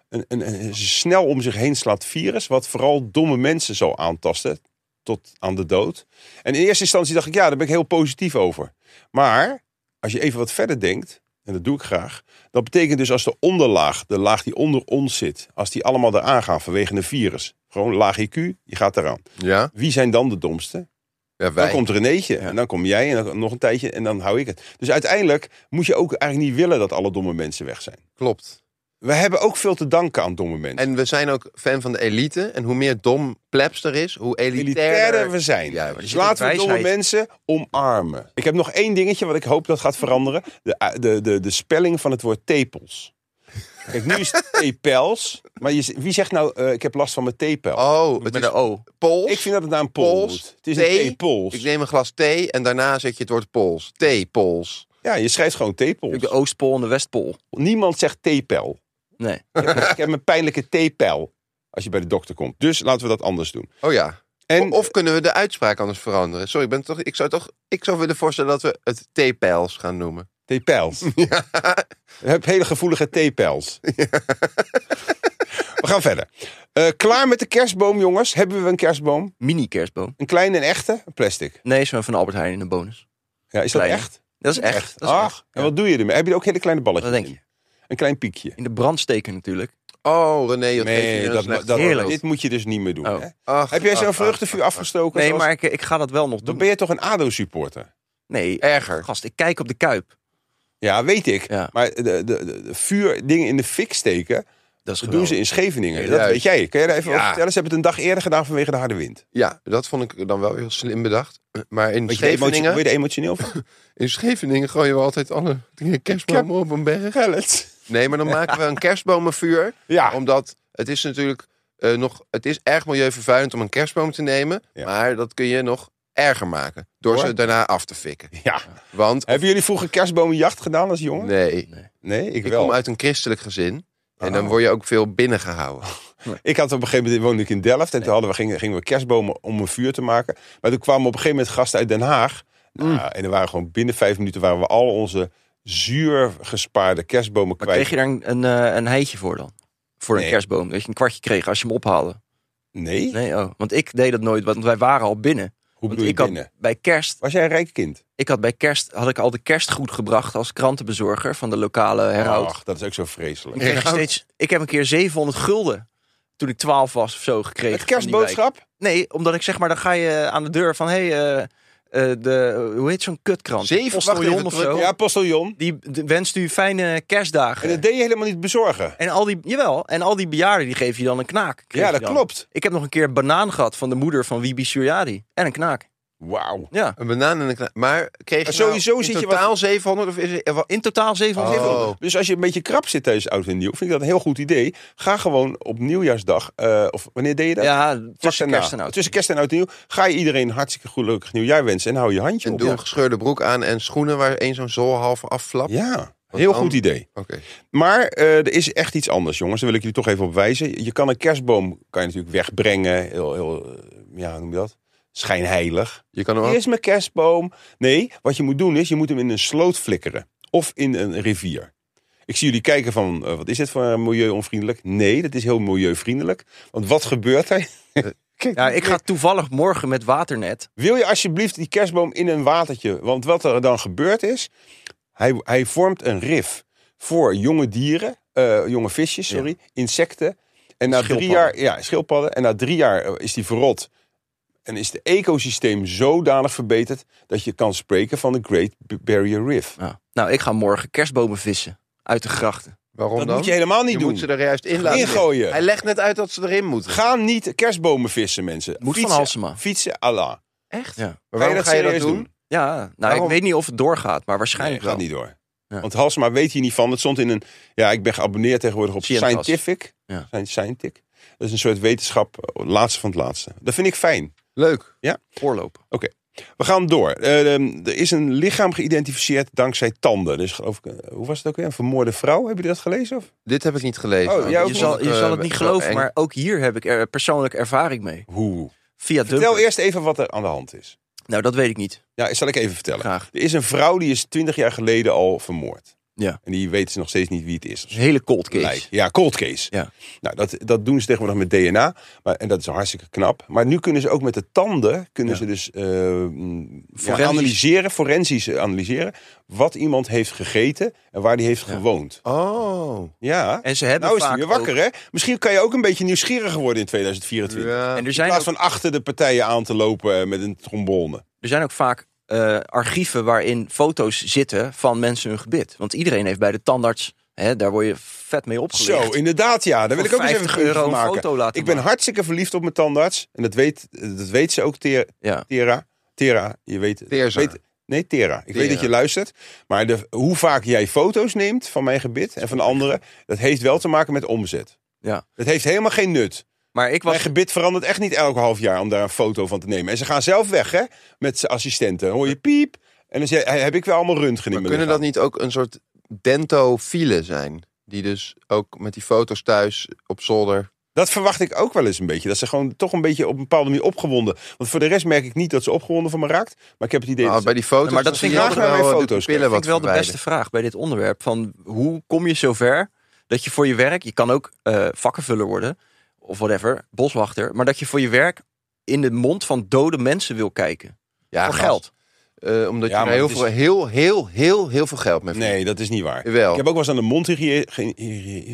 S2: Een, een, een snel om zich heen slaat virus. Wat vooral domme mensen zal aantasten. Tot aan de dood. En in eerste instantie dacht ik, ja, daar ben ik heel positief over. Maar als je even wat verder denkt, en dat doe ik graag, dat betekent dus als de onderlaag, de laag die onder ons zit, als die allemaal eraan gaan vanwege een virus, gewoon laag IQ, je gaat eraan.
S4: Ja,
S2: Wie zijn dan de domste?
S4: ja
S2: Dan
S4: wij.
S2: komt Renéetje en dan kom jij en dan nog een tijdje en dan hou ik het. Dus uiteindelijk moet je ook eigenlijk niet willen dat alle domme mensen weg zijn.
S4: Klopt.
S2: We hebben ook veel te danken aan domme mensen.
S4: En we zijn ook fan van de elite. En hoe meer dom plebs er is, hoe elitairder...
S2: Elitairder we zijn.
S4: Ja, maar
S2: dus
S3: zit ook
S2: laten we domme
S3: wijsheid.
S2: mensen omarmen. Ik heb nog één dingetje wat ik hoop dat gaat veranderen. De, eh, de, de, de spelling van het woord tepels. Kijk, nu is het tepels. Maar je, z- wie zegt nou, eh, ik heb last van mijn tepel?
S4: Oh, het
S3: Met
S4: is
S3: een O.
S4: pols.
S2: ik vind dat het naar een pols
S4: Pols,
S2: moet. Het is
S4: thee.
S2: een tepels.
S4: Ik neem een glas thee en daarna zet je het woord pols. Thee, pols.
S2: Ja, je schrijft gewoon tepels.
S3: De Oostpool en de Westpool.
S2: Niemand zegt tepel.
S3: Nee.
S2: Ik heb een pijnlijke tepel. Als je bij de dokter komt. Dus laten we dat anders doen.
S4: Oh ja.
S2: En
S4: Of kunnen we de uitspraak anders veranderen? Sorry, ik, ben toch, ik, zou toch, ik zou willen voorstellen dat we het T-pijls gaan noemen.
S2: theepijls. Je hebt hele gevoelige theepijls. We gaan verder. Eh, klaar met de kerstboom, jongens. Hebben we een kerstboom?
S3: Mini kerstboom.
S2: Een kleine en echte? Een plastic.
S3: Nee, zo'n van Albert Heijn in een bonus.
S2: Ja, is dat
S3: Kleine.
S2: echt?
S3: Dat is echt. Dat is
S2: Ach,
S3: echt.
S2: en wat doe je ermee? Heb je er ook hele kleine balletjes
S3: Wat denk
S2: in?
S3: je?
S2: Een klein piekje.
S3: In de brand steken natuurlijk.
S4: Oh, René, wat geef je
S2: Nee,
S4: een
S2: dat,
S4: slecht
S2: dat-
S3: Heerlijk.
S2: dit moet je dus niet meer doen.
S3: Oh.
S2: Hè?
S4: Ach,
S2: Heb jij
S4: ach,
S2: zo'n
S4: ach,
S2: vruchtenvuur
S4: ach, ach.
S2: afgestoken?
S3: Nee,
S2: zoals-
S3: maar ik, ik ga dat wel nog
S2: Dan
S3: doen.
S2: ben je toch een ADO-supporter?
S3: Nee,
S4: Erger.
S3: gast, ik kijk op de kuip.
S2: Ja, weet ik.
S3: Ja.
S2: Maar de, de, de, de vuur, dingen in de fik steken,
S3: Dat is
S2: dat
S3: geweldig.
S2: doen ze in Scheveningen.
S4: Ja,
S2: dat
S4: juist.
S2: weet jij. Kun je daar even
S4: Ja.
S2: over vertellen? Ze hebben het een dag eerder gedaan vanwege de harde wind.
S4: Ja, dat vond ik dan wel heel slim bedacht. Maar in
S2: Weet je, emotie,
S4: Scheveningen,
S2: word je er emotioneel van?
S4: in Scheveningen gooien we altijd alle kerstbomen op een berg.
S2: Gerrit.
S4: Nee, maar dan maken we een kerstbomenvuur.
S2: Ja.
S4: Omdat het is natuurlijk eh, nog... Het is erg milieuvervuilend om een kerstboom te nemen.
S2: Ja.
S4: Maar dat kun je nog erger maken. Door
S2: Hoor.
S4: ze daarna af te fikken.
S2: ja.
S4: Want...
S2: Hebben jullie vroeger kerstbomenjacht gedaan als jongen?
S4: Nee,
S2: Nee, ik,
S4: ik
S2: wel.
S4: kom uit een christelijk gezin. En dan
S2: Oh.
S4: word je ook veel binnengehouden.
S2: Ik had op een gegeven moment woonde ik in Delft en toen hadden we, gingen, gingen we kerstbomen om een vuur te maken. Maar toen kwamen op een gegeven moment gasten uit Den Haag. Nou, En er waren gewoon binnen vijf minuten waren we al onze zuur gespaarde kerstbomen
S3: Maar
S2: kwijt.
S3: kreeg je daar een, een, eh, een heitje voor dan? Voor een
S2: Nee.
S3: kerstboom. Dat je een kwartje kreeg als je hem ophaalde.
S2: Nee?
S3: Nee, oh. Want ik deed dat nooit, want wij waren al binnen.
S2: Hoe
S3: Want
S2: bedoel je
S3: ik had
S2: binnen?
S3: bij kerst,
S2: Was jij een rijk kind?
S3: ik had bij kerst, had ik al de kerstgoed gebracht als krantenbezorger van de lokale herhoud.
S2: Ach, dat is ook zo vreselijk.
S3: Ik, kreeg
S4: Herhoud?
S3: steeds, ik heb een keer 700 gulden toen ik 12 was of zo
S2: Het
S3: gekregen. van die wijk.
S2: kerstboodschap?
S3: Nee, omdat ik zeg maar, dan ga je aan de deur van, hé, hey, eh, eh, de, hoe heet zo'n kutkrant?
S4: Zeven,
S3: Postiljon
S4: wacht even,
S3: of
S4: terug.
S3: zo.
S2: Ja, postiljon.
S3: Die d- wenst u fijne
S2: En
S3: kerstdagen.
S2: dat deed je helemaal niet bezorgen.
S3: En al die, jawel, en al die bejaarden die geven je dan een knaak. kreeg
S2: Ja,
S3: je
S2: dat
S3: dan.
S2: klopt.
S3: Ik heb nog een keer een banaan gehad van de moeder van Wibi Suryadi. En een knaak.
S2: Wauw.
S3: Ja,
S4: Een banaan en een kna- Maar kreeg je
S2: Maar
S4: nou
S2: sowieso
S4: in
S2: zit je wat-
S4: totaal 700 of is het... eh, wat-
S3: in totaal 700
S4: Oh.
S3: euro.
S2: Dus als je een beetje krap zit tijdens oud en nieuw, vind ik dat een heel goed idee. Ga gewoon op nieuwjaarsdag, eh, of wanneer deed je dat?
S3: Ja,
S2: Vlak
S3: tussen
S2: daarna.
S3: kerst en oud.
S2: Tussen kerst en oud en nieuw. Ga je iedereen een hartstikke gelukkig nieuwjaar wensen en hou je handje
S4: En
S2: op.
S4: doe een gescheurde broek aan en schoenen waar één zo'n zool half afflapt.
S2: Ja, heel
S4: dan-
S2: goed idee.
S4: Oké.
S2: Maar eh, er is echt iets anders, jongens. Daar wil ik jullie toch even op wijzen. Je kan een kerstboom kan je natuurlijk wegbrengen. Heel, heel eh, ja, hoe noem je dat? Schijnheilig.
S4: Je kan hem
S2: Hier
S4: ook...
S2: is mijn kerstboom. Nee, wat je moet doen is, je moet hem in een sloot flikkeren. Of in een rivier. Ik zie jullie kijken van, eh, wat is dit voor eh, milieuonvriendelijk? Nee, dat is heel milieuvriendelijk. Want wat gebeurt er? Kijk,
S3: Ja, ik ga toevallig morgen met Waternet.
S2: Wil je alsjeblieft die kerstboom in een watertje? Want wat er dan gebeurd is, hij, hij vormt een rif voor jonge dieren, eh, jonge visjes, sorry, insecten. En na drie
S3: Schildpadden.
S2: jaar, ja, schildpadden. En na drie jaar eh, is die verrot. En is het ecosysteem zodanig verbeterd dat je kan spreken van de Great B- Barrier Reef.
S3: Ja. Nou, ik ga morgen kerstbomen vissen. Uit de grachten.
S4: Waarom
S2: Dat
S4: dan?
S2: moet je helemaal niet
S4: Je
S2: doen.
S4: moet ze er juist in laten
S2: Ingooien.
S4: zitten. Hij legt net uit dat ze erin moeten.
S2: Ga niet kerstbomen vissen, mensen.
S3: Moet van Halsema.
S2: Fietsen, Allah.
S4: Echt?
S3: Ja,
S4: Maar waarom ga je dat
S2: serieus
S4: doen?
S3: ja nou,
S2: Waarom?
S3: ik weet niet of het doorgaat, maar
S2: Nee,
S3: waarschijnlijk
S2: gaat
S3: wel.
S2: niet door.
S3: Ja.
S2: Want Halsema weet hier niet van. Het stond in een... Ja, ik ben geabonneerd tegenwoordig op
S3: Scientas.
S2: Scientific.
S3: Ja.
S2: Scient- Scientific. Dat is een soort wetenschap, eh, laatste van het laatste. Dat vind ik fijn.
S4: Leuk.
S3: Voorlopen.
S2: We gaan door. Eh, ehm, er is een lichaam geïdentificeerd dankzij tanden. Dus geloof ik, eh, hoe was het ook weer? Een vermoorde vrouw? Heb je dat gelezen? Of?
S4: Dit heb ik niet gelezen.
S2: Oh, jij ook
S3: Je
S2: niet?
S3: zal, je zal het
S4: Eh,
S3: niet
S4: zo
S3: geloven,
S4: eng.
S3: maar ook hier heb ik er persoonlijk ervaring mee.
S2: Hoe?
S3: Via
S2: Vertel
S3: Dumper.
S2: eerst even wat er aan de hand is.
S3: Nou, dat weet ik niet.
S2: Ja, zal ik even vertellen.
S3: Graag.
S2: Er is een vrouw die is 20 jaar geleden al vermoord.
S3: Ja.
S2: En die weten ze nog steeds niet wie het is.
S3: Een hele cold case.
S2: Lijk. Ja, cold case.
S3: Ja.
S2: Nou, dat, dat doen ze tegenwoordig met DNA. Maar, en dat is hartstikke knap. Maar nu kunnen ze ook met de tanden... kunnen
S3: Ja.
S2: ze dus eh, mm, ja,
S3: Forensisch.
S2: analyseren, forensisch eh, analyseren... wat iemand heeft gegeten en waar die heeft
S3: Ja.
S2: gewoond.
S4: Oh.
S2: Ja,
S3: En ze hebben
S2: nou is hij
S3: vaak
S2: weer wakker,
S3: ook-
S2: hè? Misschien kan je ook een beetje nieuwsgieriger worden in 2024.
S4: Ja.
S3: En er
S2: In
S3: zijn, ook,
S2: plaats van achter de partijen aan te lopen eh, met een trombone.
S3: er zijn ook vaak eh, archieven waarin foto's zitten van mensen hun gebit. Want iedereen heeft bij de tandarts, hè, daar word je vet mee opgelicht.
S2: Zo, inderdaad, ja. Daar wil ik
S3: Voor
S2: ook eens even een
S3: 50 euro
S2: puntje van
S3: een
S2: maken.
S3: foto laten
S2: ik ben
S3: maken.
S2: hartstikke verliefd op mijn tandarts. En dat weet, eh, dat weet ze ook, Ter-
S3: Ja.
S2: Tera. Tera, je weet...
S4: Teerza.
S2: weet- nee, Tera. Ik weet
S4: Tera.
S2: dat je luistert. Maar de, hoe vaak jij foto's neemt van mijn gebit en van anderen... dat heeft wel te maken met omzet.
S3: Ja.
S2: Dat heeft helemaal geen nut.
S3: Maar ik
S2: Mijn
S3: was,
S2: gebit verandert echt niet elk half jaar om daar een foto van te nemen. En ze gaan zelf weg, hè, met zijn assistenten. Dan hoor je piep. En dan zeg- heb ik weer allemaal röntgen in
S4: Maar
S2: mijn
S4: kunnen dat
S2: lichaam.
S4: niet ook een soort dentofielen zijn? Die dus ook met die foto's thuis op zolder...
S2: Dat verwacht ik ook wel eens een beetje. Dat ze gewoon toch een beetje op een bepaalde manier opgewonden. Want voor de rest merk ik niet dat ze opgewonden van me raakt. Maar ik heb het idee
S4: Nou,
S2: dat ze-
S4: bij die foto's.
S3: Ja, maar dat
S4: dan
S3: vind
S4: zie
S3: ik
S4: je
S2: graag
S4: wel eh,
S2: bij
S4: de
S2: foto's
S4: pupillen
S2: kijken.
S3: vind
S4: wat
S3: ik wel de
S4: verwijderd.
S3: beste vraag bij dit onderwerp. Van hoe kom je zover dat je voor je werk, je kan ook eh, vakkenvuller worden of whatever, boswachter, maar dat je voor je werk in de mond van dode mensen wil kijken.
S4: Ja,
S3: voor
S4: gast.
S3: geld.
S4: Eh, omdat
S2: Ja,
S4: je
S2: maar
S4: er heel,
S2: het is-
S4: veel, heel, heel, heel, heel veel geld mee verdient.
S2: Nee, dat is niet waar.
S4: Jawel.
S2: Ik heb ook wel eens aan de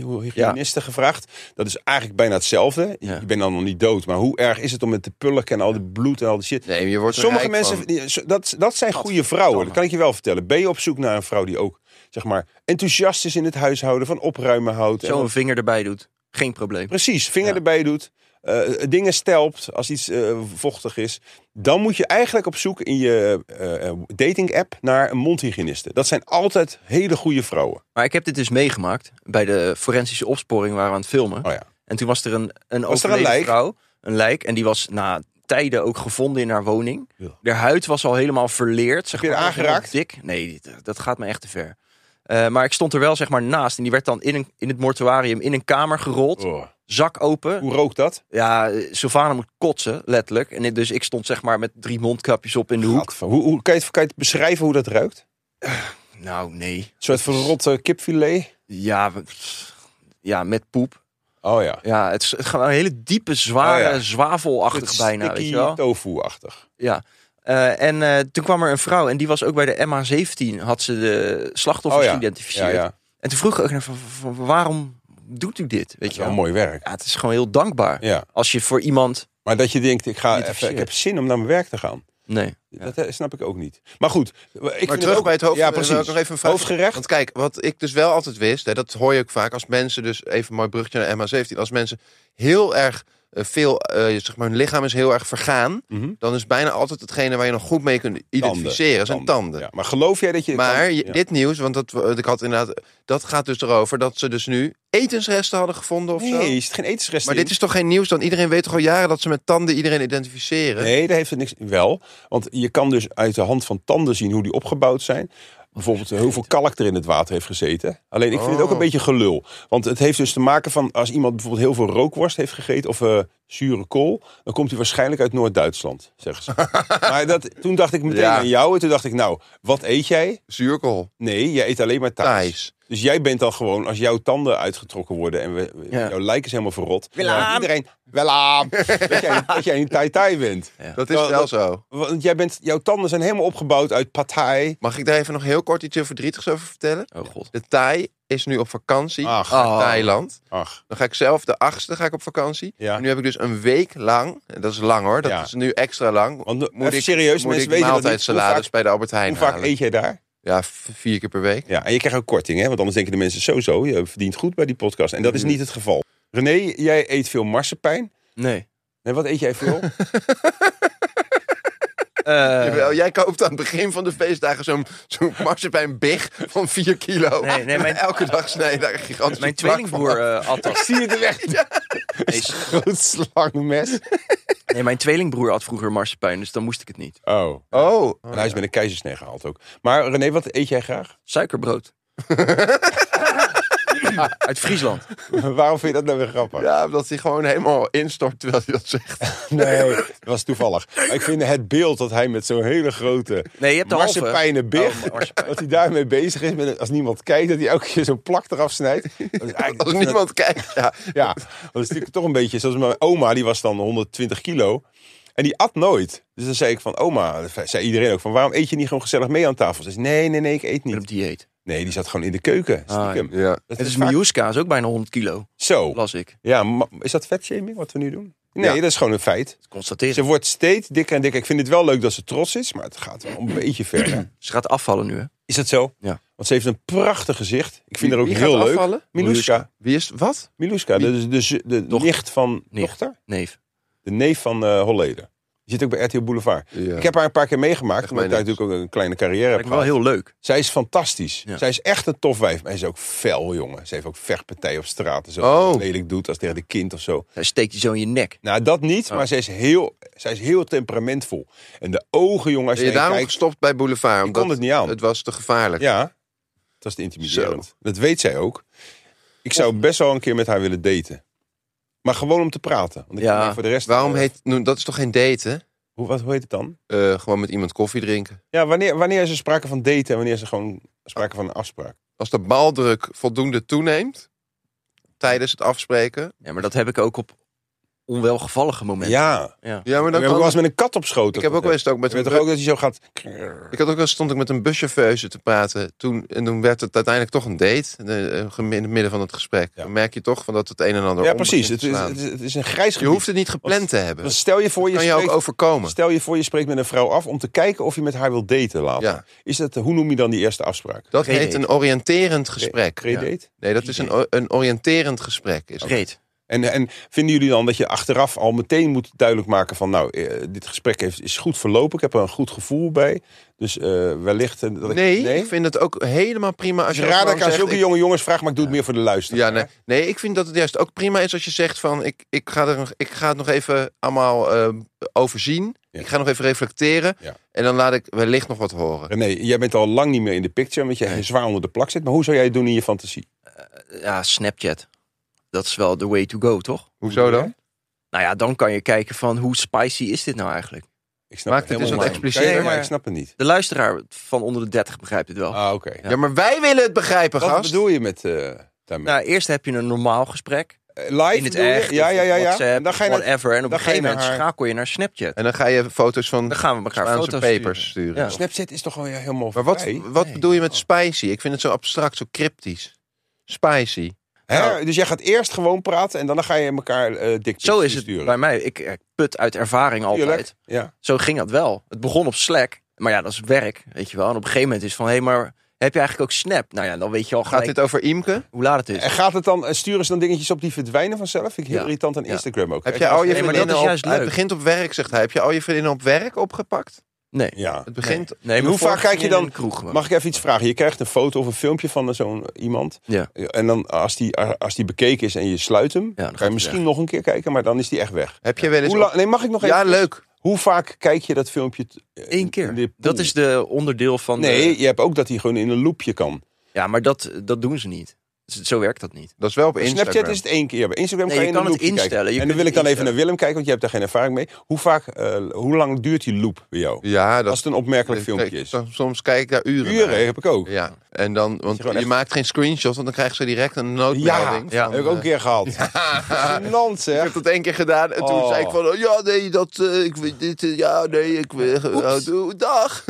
S2: mondhygiëniste gevraagd. Dat is eigenlijk bijna hetzelfde.
S3: Ja.
S2: Je bent dan nog niet dood. Maar hoe erg is het om met de pulken en al die bloed en al die shit.
S4: Nee, je wordt er
S2: Sommige
S4: rijk
S2: mensen,
S4: van.
S2: die- zo- dat, dat zijn goede vrouwen. Dat kan ik je wel vertellen. Ben je op zoek naar een vrouw die ook zeg maar, enthousiast is in het huishouden, van opruimen houdt. en
S3: Zo'n vinger erbij doet. Geen probleem.
S2: Precies, vinger
S3: Ja.
S2: erbij doet. eh, dingen stelpt als iets eh, vochtig is. Dan moet je eigenlijk op zoek in je eh, dating app naar een mondhygiëniste. Dat zijn altijd hele goede vrouwen.
S3: Maar ik heb dit dus meegemaakt bij de forensische opsporing waar we aan het filmen.
S2: Oh ja.
S3: En toen was er een, een
S2: Was er
S3: overleden
S2: een lijk?
S3: vrouw, een lijk. En die was na tijden ook gevonden in haar woning.
S2: Ja.
S3: Haar huid was al helemaal verleerd. Zeg
S2: je haar
S3: maar, was helemaal
S2: aangeraakt?
S3: Dik. Nee, dat, dat gaat me echt te ver. Eh, maar ik stond er wel zeg maar naast. En die werd dan in, een, in het mortuarium in een kamer
S2: Oh.
S3: gerold. Zak open.
S2: Hoe rookt dat?
S3: Ja, eh, Sylvana moet kotsen, letterlijk. En dit- dus ik stond zeg maar met drie mondkapjes op in de hoek.
S2: Gadver, Hoe, hoe, kan, je het, kan je het beschrijven hoe dat ruikt? Een
S3: Nou, nee.
S2: soort verrotte kipfilet?
S3: Ja, we- pff, ja met poep.
S2: Oh ja.
S3: Ja, het is het gaat een hele diepe, zware,
S2: Oh ja.
S3: zwavelachtig bijna, weet je wel.
S2: tofu-achtig.
S3: Ja. Eh, en eh, toen kwam er een vrouw en die was ook bij de MH17, had ze de slachtoffers
S2: Oh ja. Ja,
S3: geïdentificeerd.
S2: ja.
S3: En toen vroeg ik ook naar, van, van, van, waarom doet u dit? Weet
S2: Dat is
S3: je
S2: wel
S3: wel?
S2: mooi werk.
S3: Ja, het is gewoon heel dankbaar.
S2: Ja.
S3: Als je voor iemand...
S2: Maar dat je denkt, ik, ga even,
S3: Identificeert.
S2: ik heb zin om naar mijn werk te gaan.
S3: Nee.
S2: Dat eh, snap ik ook niet. Maar goed. Ik vind
S4: maar terug
S2: ook-
S4: bij het hoofd,
S2: Ja,
S4: eh, wil ik
S2: precies.
S4: nog even een vraag-
S2: Hoofdgerecht.
S4: Want kijk, wat ik dus wel altijd wist, hè, dat hoor je ook vaak als mensen, dus even een mooi bruggetje naar MH17, als mensen heel erg eh, veel, eh, zeg maar hun lichaam is heel erg vergaan,
S2: Mhm.
S4: dan is bijna altijd hetgene waar je nog goed mee kunt identificeren, zijn tanden.
S2: Ja, maar geloof jij dat je.
S4: Maar
S2: kan-
S4: je-
S2: ja.
S4: dit nieuws, want dat, eh, ik had inderdaad, dat gaat dus erover dat ze dus nu etensresten hadden gevonden of zo.
S2: Nee, is het geen etensrest?
S4: Maar dit is toch geen nieuws? Dan iedereen weet toch al jaren dat ze met tanden iedereen identificeren?
S2: Nee, daar heeft het niks. Wel, want je kan dus uit de hand van tanden zien hoe die opgebouwd zijn. Bijvoorbeeld eh, hoeveel kalk er in het water heeft gezeten. Alleen ik vind het ook een
S4: Oh.
S2: beetje gelul. Want het heeft dus te maken van als iemand bijvoorbeeld heel veel rookworst heeft gegeten of eh, zure kool, dan komt hij waarschijnlijk uit Noord-Duitsland, zeggen ze. maar dat, toen dacht ik meteen
S4: Ja.
S2: aan jou en toen dacht ik, nou, wat eet jij?
S4: Zuurkool.
S2: Nee, jij eet alleen maar Thais.
S4: Thais.
S2: Dus jij bent dan gewoon, als jouw tanden uitgetrokken worden en we, we-
S3: Ja.
S2: jouw lijk is helemaal verrot.
S3: Willem!
S2: dan weet Iedereen, Willem! dat, jij, dat jij een tai-tai bent.
S4: Dat is
S2: Wel,
S4: wel
S2: dat-
S4: zo.
S2: Want jij bent, jouw tanden zijn helemaal opgebouwd uit patai.
S4: Mag ik daar even nog heel kort iets heel verdrietigs over vertellen?
S3: Oh god.
S4: De Thai is nu op vakantie
S2: Ach,
S4: naar
S3: Oh.
S4: Thailand.
S2: ach.
S4: Dan ga ik zelf de achtste ga ik op vakantie.
S2: Ja.
S4: En nu heb ik dus een week lang, en dat is lang hoor, dat
S2: Ja.
S4: is nu extra lang.
S2: Want
S4: Moet
S2: even
S4: ik,
S2: serieus,
S4: moet
S2: mensen weten
S4: ik
S2: dat niet. Hoe
S4: maaltijdsalades
S2: vaak,
S4: bij de Albert Heijn
S2: hoe vaak
S4: halen.
S2: eet jij daar?
S4: Ja, v- vier keer per week.
S2: Ja, en je krijgt ook korting, hè? Want anders denken de mensen sowieso, je verdient goed bij die podcast. En
S4: Mhm.
S2: dat is niet het geval. René, jij eet veel marsepein.
S3: Nee.
S2: Nee, wat eet jij veel?
S3: Eh,
S4: Jawel, jij koopt aan het begin van de feestdagen zo'n zo'n marsepeinbig van 4 kilo.
S3: Nee, nee, mijn-
S4: Elke dag snij je daar een gigantische
S3: mijn
S4: plak
S3: tweelingbroer
S4: van.
S3: eh, at dat.
S2: Zie je de weg?
S3: Nee,
S2: Groot slangmes.
S3: nee, mijn tweelingbroer had vroeger marsepein, dus dan moest ik het niet.
S2: Oh.
S4: Oh.
S2: En hij is met een keizersnee gehaald ook. Maar René, wat eet jij graag?
S3: Suikerbrood. Ah, Uit Friesland.
S2: Waarom vind je dat nou weer grappig?
S4: Ja, omdat hij gewoon helemaal instort terwijl hij dat zegt.
S2: Nee, dat was toevallig. Maar ik vind het beeld dat hij met zo'n hele grote
S3: Nee, je hebt de halve.
S2: marsepeinen big,
S3: Oh, marsepein.
S2: dat hij daarmee bezig is, met, als niemand kijkt, dat hij elke keer zo'n plak eraf snijdt. Dat is eigenlijk-
S4: Als niemand kijkt. Ja.
S2: Ja, want dat is natuurlijk toch een beetje, zoals mijn oma, die was dan 120 kilo. En die at nooit. Dus dan zei ik van, oma, zei iedereen ook van, waarom eet je niet gewoon gezellig mee aan tafel? Ze zei, nee, nee, nee, ik eet
S3: Ik ben
S2: niet.
S3: op dieet.
S2: Nee, die zat gewoon in de keuken,
S3: Ah,
S2: stiekem.
S4: ja.
S2: Dat
S3: Het is
S2: vaak- Oh.
S3: Miuska, is ook bijna 100 kilo,
S2: Zo,
S3: las ik.
S2: ja, ma- is dat vetshaming wat we nu doen? Nee,
S4: Ja.
S2: dat is gewoon een feit.
S3: Constateren.
S2: Ze wordt steeds dikker en dikker. Ik vind het wel leuk dat ze trots is, maar het gaat wel een beetje ver. hè?
S3: Ze gaat afvallen nu, hè?
S2: Is dat zo?
S3: Ja.
S2: Want ze heeft een prachtig gezicht. Ik vind
S4: Wie-
S2: haar ook
S4: wie
S2: heel
S4: gaat
S2: leuk.
S4: afvallen?
S2: Miluska.
S4: Wie is wat?
S2: Miluska,
S4: Wie?
S2: de, de, de, de
S3: Doch-
S2: nicht van
S3: Nicht.
S2: dochter.
S3: Neef.
S2: De neef van eh Holleder. Die zit ook bij RTL Boulevard.
S4: Ja.
S2: Ik heb haar een paar keer meegemaakt, omdat ik
S4: mij
S2: daar natuurlijk ook een kleine carrière heb
S3: Lijkt me wel
S2: gehad.
S3: heel leuk.
S2: Zij is fantastisch.
S3: Ja.
S2: Zij is echt een tof wijf. Maar ze is ook fel, jongen. Ze heeft ook vechtpartijen op straat. En zo.
S4: Oh.
S2: Wat lelijk doet als tegen de kind of zo.
S3: Hij steekt Eh, je zo in je nek.
S2: Nou, dat niet.
S3: Oh.
S2: Maar zij is, heel, zij is heel temperamentvol. En de ogen, jongen, als
S4: Ben
S2: je,
S4: je
S2: naar
S4: daarom
S2: kijkt...
S4: gestopt bij Boulevard?
S2: Ik kon het niet aan.
S4: Het was te gevaarlijk.
S2: Ja, dat is te intimiderend. Dat weet zij ook. Ik zou best wel een keer met haar willen daten. Maar gewoon om te praten. Want ik
S3: Ja.
S2: maar voor de rest.
S4: Waarom
S2: eh,
S4: heet... nou, Dat is toch geen daten?
S2: Hoe, wat, hoe heet het dan?
S4: Eh, gewoon met iemand koffie drinken.
S2: Ja, wanneer, wanneer is er sprake van daten en wanneer is er gewoon sprake van een afspraak?
S4: Als de baaldruk voldoende toeneemt... tijdens het afspreken...
S3: Ja, maar dat heb ik ook op onwelgevallige momenten.
S2: Ja.
S3: Ja.
S4: Ja, maar
S2: Ik heb ook wel eens met een kat op schoot.
S4: Ik heb ook wel eens ook met een
S2: Weet toch ook dat je zo gaat.
S4: Ik had ook wel stond ik met een buschauffeuse te praten. Toen, en toen werd het uiteindelijk toch een date. eh, eh, In het midden van het gesprek.
S2: Ja.
S4: Dan merk je toch van dat het een en ander.
S2: Ja,
S4: om
S2: precies.
S4: begint
S2: Het
S4: te
S2: is,
S4: slaan.
S2: het, is, het is een grijs
S4: je
S2: gebied.
S4: hoeft het niet gepland te hebben.
S2: Want Stel je voor je,
S4: kan je ook
S2: spreekt,
S4: overkomen.
S2: stel je voor je spreekt met een vrouw af om te kijken of je met haar wil daten later.
S4: Ja.
S2: Is dat, hoe noem je dan die eerste afspraak?
S4: Dat
S3: Predate.
S4: heet een oriënterend gesprek.
S2: Predate?
S4: Ja. Nee, dat is een, o- een oriënterend gesprek. Is het.
S3: Reet.
S2: En, en vinden jullie dan dat je achteraf al meteen moet duidelijk maken van nou, eh, dit gesprek heeft, is goed verlopen, ik heb er een goed gevoel bij. Dus eh, wellicht... eh, dat ik-
S4: Nee, ik vind het ook helemaal prima als
S2: Het
S4: je
S2: is raar
S4: ook
S2: dat ik
S4: gewoon
S2: aan
S4: zegt,
S2: zulke
S4: ik-
S2: jonge jongens vraag, maar ik doe het meer voor de luisteraar.
S4: Ja, nee, nee, ik vind dat het juist ook prima is als je zegt van ik, ik, ga, er, nog- ik ga het nog even allemaal eh, overzien.
S2: Ja.
S4: Ik ga nog even reflecteren.
S2: Ja.
S4: En dan laat ik wellicht nog wat horen.
S2: René, jij bent al lang niet meer in de picture, omdat je zwaar onder de plak zit. Maar hoe zou jij het doen in je fantasie?
S3: Ja, Snapchat. Dat is wel the way to go, toch?
S4: Hoezo dan?
S3: Nou ja, dan kan je kijken van hoe spicy is dit nou eigenlijk?
S2: Ik snap
S4: Maakt het dus
S2: helemaal
S4: wat
S2: niet.
S4: explicieter.
S2: Nee, maar ik snap het niet.
S3: De luisteraar van onder de 30 begrijpt het wel.
S2: Ah, oké.
S4: Oh. Ja, maar wij willen het begrijpen,
S2: Wat
S4: gast.
S2: bedoel je met eh, daarmee?
S3: Nou, eerst heb je een normaal gesprek.
S2: Eh, Live
S3: in het
S2: bedoel je?
S3: echt.
S2: Ja,
S3: of
S2: ja,
S3: op
S2: ja. ja.
S3: WhatsApp,
S2: En dan ga je naar...
S3: whatever. En op
S2: dan
S3: een
S2: ga je
S3: gegeven moment
S2: naar haar-
S3: schakel je naar Snapchat.
S4: En dan ga je foto's van
S3: Dan gaan we elkaar
S4: Spaanse
S3: foto's
S4: papers
S3: sturen.
S4: sturen.
S3: Ja.
S2: Snapchat is toch gewoon ja, helemaal
S4: Maar wat,
S2: voorbij?
S4: wat bedoel je met spicy? Ik vind het zo abstract, zo cryptisch. Spicy.
S2: Hè? Dus jij gaat eerst gewoon praten en dan ga je elkaar eh dik
S3: Nou. Zo is het
S2: sturen.
S3: bij mij. Ik eh, put uit ervaring altijd.
S2: Tuurlijk. Ja.
S3: Zo ging dat wel. Het begon op Slack. Maar ja, dat is werk, weet je wel. En op een gegeven moment is het van... Hé, maar heb je eigenlijk ook Snap? Nou ja, dan weet je al
S4: Gaat
S3: gelijk
S4: dit over Imke?
S3: hoe laat het is.
S2: En gaat het dan, eh, sturen ze dan dingetjes op die verdwijnen vanzelf? Vind ik heel
S3: Ja.
S2: irritant aan
S3: Ja.
S2: Instagram ook.
S4: Heb
S2: Kijk,
S4: je al je
S3: Nee, maar dat
S4: vriendinnen
S3: is
S4: op...
S3: juist
S4: Het
S3: leuk.
S4: begint op werk, zegt hij. Heb je al je vriendinnen op werk opgepakt?
S3: Nee.
S2: Ja.
S4: Het begint...
S3: Nee,
S2: Hoe vaak kijk je dan-
S3: In de kroeg gewoon.
S2: Mag ik even iets vragen? Je krijgt een foto of een filmpje van eh, zo'n iemand.
S3: Ja.
S2: En dan als die, eh, als die bekeken is en je sluit hem,
S3: dan gaat
S2: kan
S3: hij
S2: je misschien
S3: weg.
S2: nog een keer kijken, maar dan is die echt weg.
S4: Heb je wel eens...
S2: Hoe lang, nee, mag ik nog
S4: op- Ja,
S2: even?
S4: leuk.
S2: Hoe vaak kijk je dat filmpje? t- eh, in-
S3: Eén
S2: in
S3: keer.
S2: de pool?
S3: dat is eh, de onderdeel van... de-
S2: Nee, je hebt ook dat hij gewoon in een loopje kan.
S3: Ja, maar dat, dat doen ze niet. Dus Zo werkt dat niet.
S4: Dat is wel op
S2: Op
S4: Instagram.
S2: Snapchat is het één keer. Bij Instagram
S3: Nee,
S2: kan je,
S3: je
S2: in een
S3: kan het
S2: loopje
S3: instellen.
S2: kijken.
S3: Je
S2: En dan
S3: kunt
S2: wil ik
S3: het
S2: dan even naar
S3: instellen.
S2: Willem kijken, want je hebt daar geen ervaring mee. Hoe, vaak, eh, hoe lang duurt die loop bij jou?
S4: Ja, dat
S2: Als het een opmerkelijk filmpje is.
S4: Soms- Soms kijk ik daar uren naar.
S2: Uren heb ik ook.
S4: Ja, en dan, want
S2: gewoon
S4: je
S2: echt-
S4: maakt geen screenshot, want dan krijg ze direct een
S2: Ja,
S4: noodmelding.
S3: ja.
S4: van,
S2: heb ik ook een
S4: eh,
S2: keer gehad. Gênant,
S4: Ik
S2: zeg.
S4: heb dat één keer gedaan en toen
S2: Oh.
S4: zei ik van, oh, ja, nee, dat, eh, ik weet dit, eh, ja, nee, ik weet,
S3: Oeps.
S4: oh, dag.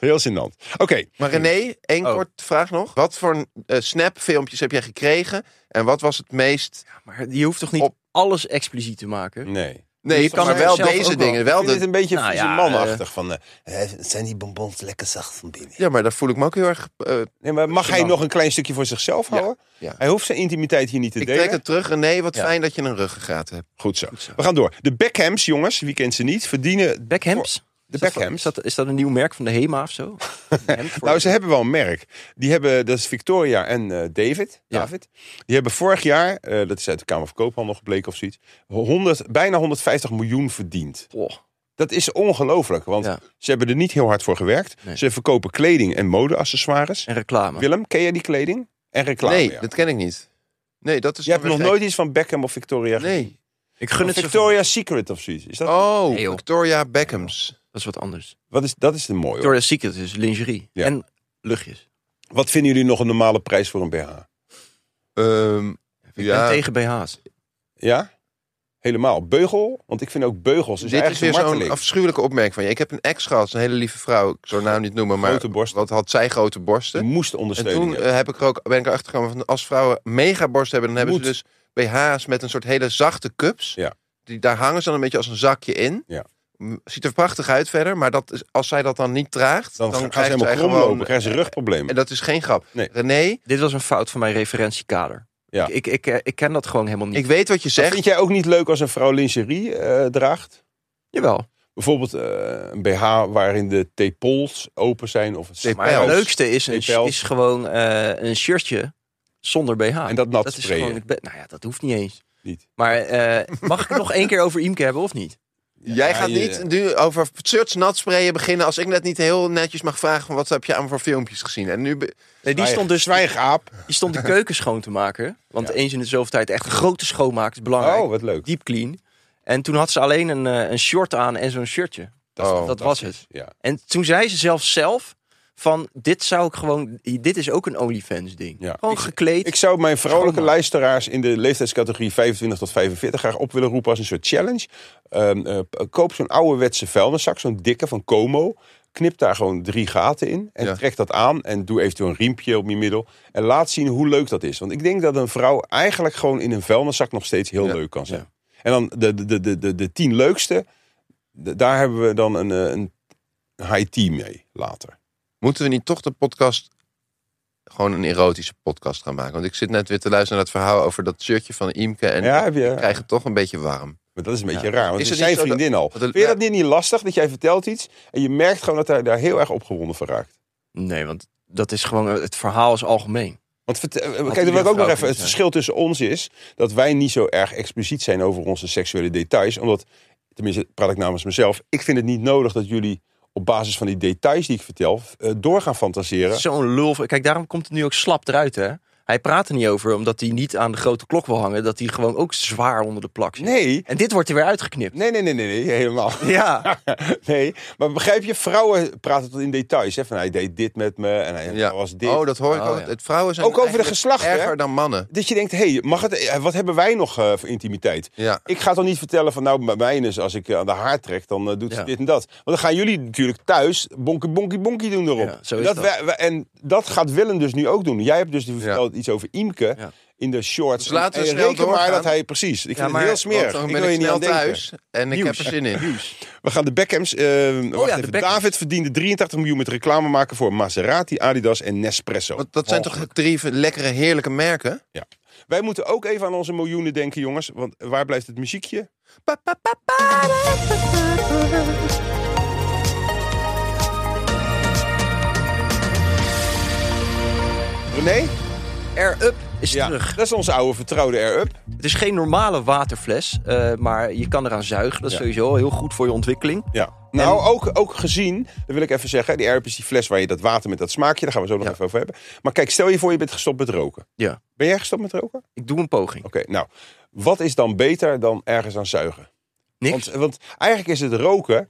S2: Heel gênant. Oké,
S4: Maar René, één
S3: Oh.
S4: kort vraag nog. Wat voor eh, snapfilmpjes heb jij gekregen en wat was het meest...
S3: Maar je hoeft toch niet
S4: Op-
S3: alles expliciet te maken?
S2: nee.
S4: Nee,
S3: je
S4: kan
S3: kan
S4: maar
S3: er
S4: wel
S3: zelf ook
S4: deze
S3: wel-
S4: dingen, wel
S2: Ik vind
S4: de...
S2: het een beetje
S3: Nou
S2: vieze
S3: ja,
S2: manachtig. Van, eh, eh, zijn die bonbons lekker zacht van binnen?
S4: Ja, maar daar voel ik me ook heel erg... eh,
S2: Nee, maar mag hij
S4: Gênant.
S2: nog een klein stukje voor zichzelf
S4: Ja,
S2: houden?
S4: ja.
S2: Hij hoeft zijn intimiteit hier niet te
S4: ik
S2: delen.
S4: trek het terug. René, wat
S2: Ja.
S4: fijn dat je een ruggengraat hebt.
S2: Goed, zo. We gaan door. De Beckhams, jongens, wie kent ze niet, verdienen...
S3: Beckhams?
S2: De
S3: Is dat-
S2: Beckhams?
S3: Is dat, is dat een nieuw merk van de HEMA of zo? Hemd voor-
S2: Nou, ze hebben wel een merk. Die hebben, dat is Victoria en eh, David.
S3: Ja.
S2: David. Die hebben vorig jaar, eh, dat is uit de Kamer van Koophandel gebleken of zoiets, 100, bijna 150 miljoen verdiend.
S3: Oh,
S2: Dat is ongelooflijk, want
S3: Ja.
S2: ze hebben er niet heel hard voor gewerkt.
S3: Nee.
S2: Ze verkopen kleding en modeaccessoires.
S3: en reclame.
S2: Willem, ken jij die kleding? En reclame.
S4: nee,
S2: ja.
S4: dat ken ik niet. Nee, dat is
S2: Je hebt
S4: dan
S2: nog
S4: weer
S2: nooit iets van Beckham of Victoria
S4: gek. Nee.
S3: Ik gun
S2: Of
S3: het ze van-
S2: Victoria's Secret of zoiets. Is dat,
S4: Oh,
S3: Nee, joh.
S4: Victoria Beckhams.
S3: Dat is wat anders.
S2: wat is, dat is de mooie. hoor.
S3: Victoria's Secret is lingerie.
S2: Ja.
S3: En luchtjes.
S2: Wat vinden jullie nog een normale prijs voor een BH?
S4: Ehm,
S3: En
S4: ja,
S3: tegen BH's.
S2: Ja? Helemaal. Beugel? Want ik vind ook beugels. Is
S4: dit is weer
S2: eigenlijk een
S4: zo'n
S2: marteling.
S4: afschuwelijke opmerking van je. Ik heb een ex gehad, een hele lieve vrouw. Ik zou haar naam niet noemen, maar
S2: Grote borsten.
S4: wat had zij grote
S2: Ze
S4: borsten?
S2: moest
S4: En
S2: ondersteuning
S4: toen
S2: hebben.
S4: eh, heb ik er ook, ben ik erachter gekomen van als vrouwen mega borsten hebben, dan hebben
S2: Moet.
S4: ze dus BH's met een soort hele zachte cups.
S2: Ja.
S4: Die, daar hangen ze dan een beetje als een zakje in.
S2: Ja.
S4: M, Ziet er prachtig uit verder, maar dat is, als zij dat dan niet draagt,
S2: Dan,
S4: dan,
S2: gaan ze
S4: krijgt
S2: helemaal
S4: zij
S2: krom
S4: gewoon... eh,
S2: lopen. krijgen ze rugproblemen.
S4: En dat is geen grap.
S2: Nee.
S4: René,
S3: Dit was een fout van mijn referentiekader.
S2: Ja.
S3: Ik, ik, ik, ik ken dat gewoon helemaal niet.
S4: ik weet wat je
S2: Dat
S4: zegt.
S2: vind jij ook niet leuk als een vrouw lingerie eh, draagt?
S3: Jawel.
S2: Bijvoorbeeld eh, een BH waarin de tepels open zijn. Of het
S3: Maar het
S4: Pijls.
S3: leukste is, een,
S2: Pijls.
S3: is gewoon eh, een shirtje zonder BH.
S2: En dat nat
S3: dat is
S2: sprayen.
S3: gewoon het be- Nou ja, dat hoeft niet eens.
S2: Niet.
S3: Maar eh, mag ik het nog één keer over Imke hebben of niet?
S4: Jij
S2: Ja,
S4: gaat
S2: je-
S4: niet nu over shirts nat sprayen beginnen als ik net niet heel netjes mag vragen van wat heb je aan voor filmpjes gezien. En nu be-
S3: Nee, die stond dus
S2: Zwijg, aap.
S3: die stond de keuken schoon te maken. Want eens in de zoveel tijd echt een grote schoonmaak is belangrijk.
S2: Oh, wat leuk.
S3: Deep clean. En toen had ze alleen een, eh, een short aan en zo'n shirtje.
S2: Dat is
S4: Oh.
S3: dat was het.
S2: Ja.
S3: En toen zei ze zelfs zelf van dit zou ik gewoon, dit is ook een OnlyFans ding.
S2: Ja.
S3: Gewoon
S2: Ik-
S3: gekleed.
S2: Ik zou mijn vrouwelijke
S3: Schoonmaak.
S2: luisteraars in de leeftijdscategorie 25 tot 45 graag op willen roepen als een soort challenge. Ehm, eh, p- koop zo'n ouderwetse vuilniszak, zo'n dikke van Como. Knip daar gewoon drie gaten in en
S4: Ja.
S2: trek dat aan en doe eventueel een riempje op je middel. En laat zien hoe leuk dat is. Want ik denk dat een vrouw eigenlijk gewoon in een vuilniszak nog steeds heel
S4: Ja.
S2: leuk kan zijn. En dan de, de, de, de, de, de tien leukste, d- daar hebben we dan een, eh, een high team mee later.
S4: moeten we niet toch de podcast gewoon een erotische podcast gaan maken. Want ik zit net weer te luisteren naar het verhaal over dat shirtje van Imke en
S2: ja, heb je,
S4: ik krijg het toch een beetje warm.
S2: Maar dat is een beetje
S3: Ja.
S2: raar, want
S4: Is
S2: is het
S4: het
S2: is zijn
S4: niet zo dat-
S2: vriendin al.
S4: dat het-
S2: Vind je dat niet, niet lastig, dat jij vertelt iets... en je merkt gewoon dat hij daar heel erg opgewonden van raakt?
S3: Nee, want dat is gewoon, eh, het verhaal is algemeen.
S2: Want vertel- eh, kijk,
S3: iedere
S2: dat wil ik ook nog
S3: vrouw
S2: even...
S3: kunnen
S2: Het verschil tussen ons is dat wij niet zo erg expliciet zijn... over onze seksuele details, omdat... tenminste, praat ik namens mezelf... ik vind het niet nodig dat jullie op basis van die details die ik vertel... eh, door gaan fantaseren.
S3: Zo'n lul. van- Kijk, daarom komt het nu ook slap eruit, hè. Hij praat er niet over, omdat hij niet aan de grote klok wil hangen. Dat hij gewoon ook zwaar onder de plak zit.
S2: Nee,
S3: En dit wordt er weer uitgeknipt.
S2: nee, nee, nee, nee, nee helemaal
S3: Ja,
S2: Nee, maar begrijp je, vrouwen praten tot in details. Hè? Van hij deed dit met me en hij
S4: Ja.
S2: was dit.
S4: Oh, dat hoor ik
S3: Oh,
S4: ook.
S3: ja.
S4: Het vrouwen zijn
S2: Ook over de
S4: eigenlijk
S2: geslachten, hè?
S4: erger dan mannen.
S2: Dat je denkt, hé, hey, mag het- eh, wat hebben wij nog eh, voor intimiteit?
S4: Ja.
S2: Ik ga toch niet vertellen van nou, bij mij is als ik eh, aan de haar trek, dan eh, doet ze
S3: Ja.
S2: dit en dat. Want dan gaan jullie natuurlijk thuis bonkie bonkie bonkie doen erop.
S3: Ja, zo is
S2: dat
S3: dat.
S2: wij- wij- en dat gaat Willem dus nu ook doen. Jij hebt dus verteld iets over Imke
S3: Ja.
S2: in de shorts.
S4: Dus laten we
S2: en en
S4: snel
S2: reken maar
S4: doorgaan.
S2: dat hij precies. Ik vind
S3: maar-
S2: het heel
S4: Want
S2: smerig.
S4: dan
S2: Ik
S4: ben
S2: wil je
S4: ik
S2: niet
S4: snel
S2: aan denken.
S4: thuis en ik heb er zin in.
S2: We gaan de Beckhams. eh, wacht
S3: ja, de
S2: even.
S3: Beckhams.
S2: David verdiende 83 miljoen met reclame maken voor Maserati, Adidas en Nespresso.
S4: Want dat zijn toch drie lekkere, heerlijke merken?
S2: Ja. Wij moeten ook even aan onze miljoenen denken, jongens. Want waar blijft het muziekje? René?
S3: Air Up is
S2: Ja,
S3: terug.
S2: dat is onze oude vertrouwde Air-Up.
S3: Het is geen normale waterfles, eh, maar je kan eraan zuigen. Dat is
S2: Ja.
S3: sowieso heel goed voor je ontwikkeling.
S2: Ja. Nou, ook, ook gezien, dat wil ik even zeggen. Die Air-Up is die fles waar je dat water met dat smaakje, daar gaan we zo nog
S3: Ja.
S2: even over hebben. Maar kijk, stel je voor je bent gestopt met roken.
S3: Ja.
S2: Ben jij gestopt met roken?
S3: Ik doe een poging.
S2: Oké, nou. Wat is dan beter dan ergens aan zuigen?
S3: Niks.
S2: Want, want eigenlijk is het roken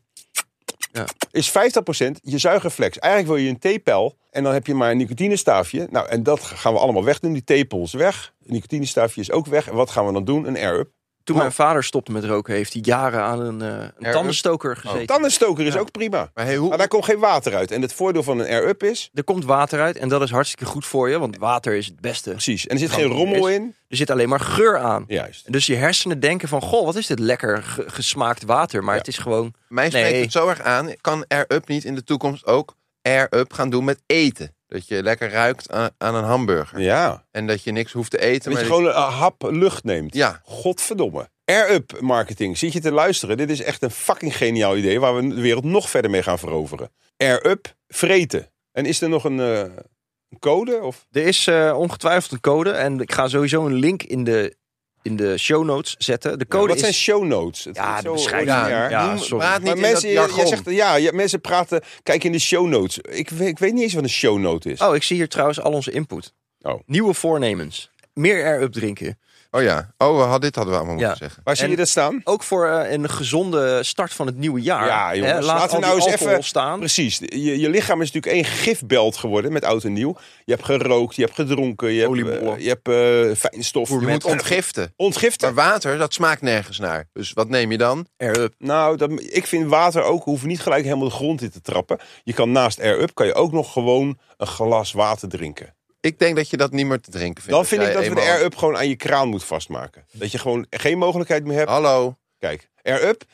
S3: Ja.
S2: is 50% je zuigreflex. Eigenlijk wil je een theepel en dan heb je maar een nicotinestaafje. Nou, en dat gaan we allemaal wegdoen. Die theepel is weg. Het nicotinestaafje is ook weg. En wat gaan we dan doen? Een air-up.
S3: Toen
S2: Oh.
S3: mijn vader stopte met roken, heeft hij jaren aan een, eh, een
S4: Air-up?
S3: tandenstoker gezeten.
S2: Tandenstoker is
S3: Ja.
S2: ook prima.
S4: Maar hey, hoe,
S2: Maar daar komt geen water uit. En het voordeel van een air-up is...
S3: Er komt water uit en dat is hartstikke goed voor je, want water is het beste.
S2: Precies. En er zit
S3: Dan
S2: geen
S3: is-
S2: rommel in.
S3: Er zit alleen maar geur aan.
S2: Juist.
S3: Dus je hersenen denken van, goh, wat is dit lekker ge- gesmaakt water. Maar
S2: Ja.
S3: het is gewoon...
S4: Mij spreekt
S3: Nee.
S4: het zo erg aan. Kan Air Up niet in de toekomst ook Air Up gaan doen met eten? Dat je lekker ruikt aan, aan een hamburger.
S2: Ja.
S4: En dat je niks hoeft te eten.
S2: Dat
S4: Maar
S2: je gewoon een eh, hap lucht neemt.
S4: Ja,
S2: Godverdomme. Air-up marketing. Zit je te luisteren? Dit is echt een fucking geniaal idee waar we de wereld nog verder mee gaan veroveren. Air-up vreten. En is er nog een eh, een code? Of?
S3: Er is eh, ongetwijfeld een code en ik ga sowieso een link in de, in de show notes zetten. De code
S2: Wat
S3: is...
S2: zijn show notes? Het
S3: Ja,
S2: is
S3: de
S2: zo
S3: beschrijving.
S4: ja,
S2: ordinair.
S3: Ja,
S4: noem-
S3: sorry.
S4: praat niet
S2: Maar
S4: in
S2: mensen,
S4: dat
S2: je, je
S4: jargon.
S2: zegt, ja, ja, mensen praten. Kijk in de show notes. Ik, weet- ik weet niet eens wat een show note is.
S3: Oh, ik zie hier trouwens al onze input.
S2: Oh.
S3: Nieuwe voornemens. Meer air-up drinken.
S4: Oh ja, oh, we had, dit hadden we allemaal
S3: Ja.
S4: moeten zeggen.
S2: Waar zie
S3: en-
S2: je dat staan?
S3: Ook voor eh, een gezonde start van het nieuwe jaar.
S2: Ja, jongens,
S3: Hè,
S2: laten
S3: laat
S2: we
S3: al
S2: nou
S3: die
S2: eens
S3: alcohol
S2: even-
S3: staan.
S2: Precies. Je, je lichaam is natuurlijk één gifbelt geworden met oud en nieuw. Je hebt gerookt, je hebt gedronken, je hebt,
S3: Oliebollen.
S2: eh, je hebt eh, fijnstof.
S4: Je moet ontgiften.
S2: Ontgiften.
S4: Maar water, dat smaakt nergens naar. Dus wat neem je dan?
S3: Air-up.
S2: Nou, dat, ik vind water ook, hoef niet gelijk helemaal de grond in te trappen. Je kan naast Air Up, kan je ook nog gewoon een glas water drinken.
S4: Ik denk dat je dat niet meer te drinken vindt.
S2: Dan vind
S4: Als
S2: ik dat
S4: jij
S2: we de
S4: eenmaal-
S2: Air Up gewoon aan je kraan moet vastmaken. Dat je gewoon geen mogelijkheid meer hebt.
S4: Hallo.
S2: Kijk, Air Up.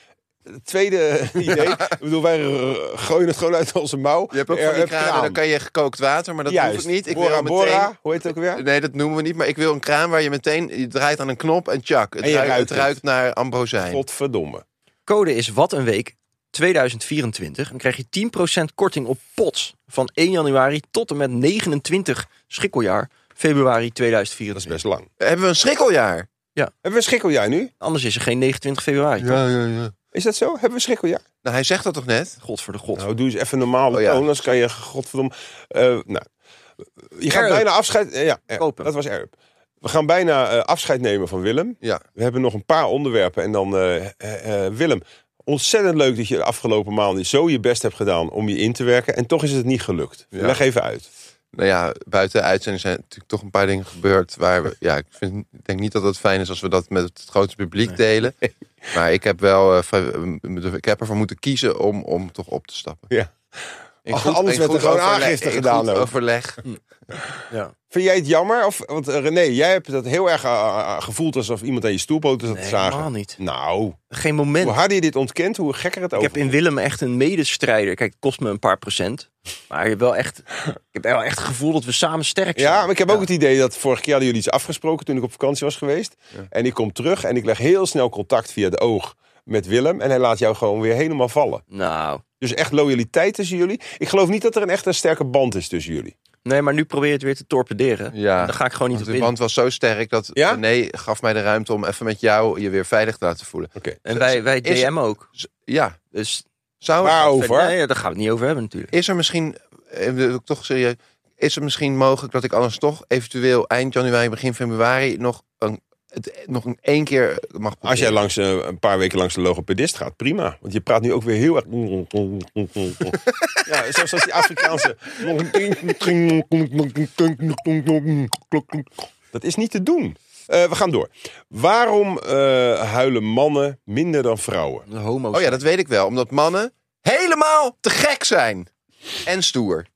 S2: het Tweede idee. Ik bedoel, wij r- gooien het gewoon uit onze mouw.
S4: Je hebt ook
S2: Air
S4: van die
S2: Up
S4: kranen, dan kan je gekookt water, maar dat hoef
S2: Juist.
S4: ik niet. Ik
S2: Bora
S4: wil meteen...
S2: Bora, hoe heet het ook weer?
S4: Nee, dat noemen we niet, maar ik wil een kraan waar je meteen... Je draait aan een knop en tjak. Het,
S2: En je
S4: ruikt,
S2: ruikt het.
S4: het ruikt naar ambrosijn.
S2: Godverdomme.
S3: Code is wat een week 2024. Dan krijg je 10% korting op pots. Van 1 januari tot en met 29 schrikkeljaar. Februari
S2: Dat is
S3: 2024.
S2: best lang.
S4: Hebben we een schrikkeljaar?
S2: Hebben we schikkel jij nu?
S3: Anders is er geen 29 februari.
S4: Ja, ja, ja.
S2: Is dat zo? Hebben we schrikkeljaar?
S4: Nou, hij zegt dat toch net?
S3: God voor de god.
S2: Nou, doe eens even normaal.
S4: Oh, ja.
S2: toon, anders kan je, godverdomme... eh, nou, je gaat
S3: Arab.
S2: bijna afscheid... eh, ja, Arab.
S3: Kopen.
S2: dat was Erp. We gaan bijna eh, afscheid nemen van Willem.
S4: Ja.
S2: We hebben nog een paar onderwerpen. En dan, eh, eh, eh, Willem, ontzettend leuk dat je de afgelopen maanden zo je best hebt gedaan om je in te werken. En toch is het niet gelukt.
S4: Ja.
S2: Leg even uit.
S4: Nou ja, buiten de uitzending zijn natuurlijk toch een paar dingen gebeurd. Waar we, ja, ik, vind, ik denk niet dat het fijn is als we dat met het grote publiek delen. Maar ik heb wel, eh, vrij- ik heb ervoor moeten kiezen om, om toch op te stappen.
S2: Ja.
S4: In
S2: Ach, anders werd er gewoon
S4: overleg-
S2: aangifte
S4: in
S2: gedaan
S4: goed
S2: ook. Hm.
S4: overleg.
S3: Ja.
S2: Vind jij het jammer? Of, want eh, René, jij hebt dat heel erg eh, gevoeld alsof iemand aan je stoelpoten zat
S3: Nee,
S2: te zagen.
S3: helemaal niet.
S2: Nou,
S3: Geen moment.
S2: hoe harder je dit ontkent, hoe gekker het
S3: Ik
S2: over.
S3: heb in Willem echt een medestrijder. Kijk, het kost me een paar procent. Maar ik heb wel echt, ik heb wel echt het gevoel dat we samen sterk zijn.
S2: Ja, maar ik heb ook het idee dat vorige keer hadden jullie iets afgesproken toen ik op vakantie was geweest. En ik kom terug en ik leg heel snel contact via de oog met Willem. En hij laat jou gewoon weer helemaal vallen.
S3: Nou,
S2: Dus echt loyaliteit tussen jullie. Ik geloof niet dat er een echt een sterke band is tussen jullie.
S3: nee, maar nu probeer je het weer te torpederen.
S4: Ja.
S3: Daar ga ik gewoon niet
S4: Want
S3: op
S4: de
S3: in.
S4: band was zo sterk dat
S2: Ja?
S4: René gaf mij de ruimte om even met jou je weer veilig te laten voelen.
S2: Oké.
S3: En wij, wij
S4: Is-
S3: DM ook.
S4: Z- Ja,
S3: Dus
S4: zou
S2: Waarover?
S3: Nee, daar gaan we het niet over hebben natuurlijk.
S4: Is er misschien, eh, wil ik toch serieus, is er misschien mogelijk dat ik anders toch eventueel eind januari, begin februari nog een, het, nog een één keer mag proberen?
S2: Als jij langs, eh, een paar weken langs de logopedist gaat, prima. Want je praat nu ook weer heel erg... ja, zoals die Afrikaanse... Dat is niet te doen. Eh, we gaan door. Waarom eh, huilen mannen minder dan vrouwen?
S3: De homo's.
S4: Oh ja, dat weet ik wel, omdat mannen helemaal te gek zijn en stoer.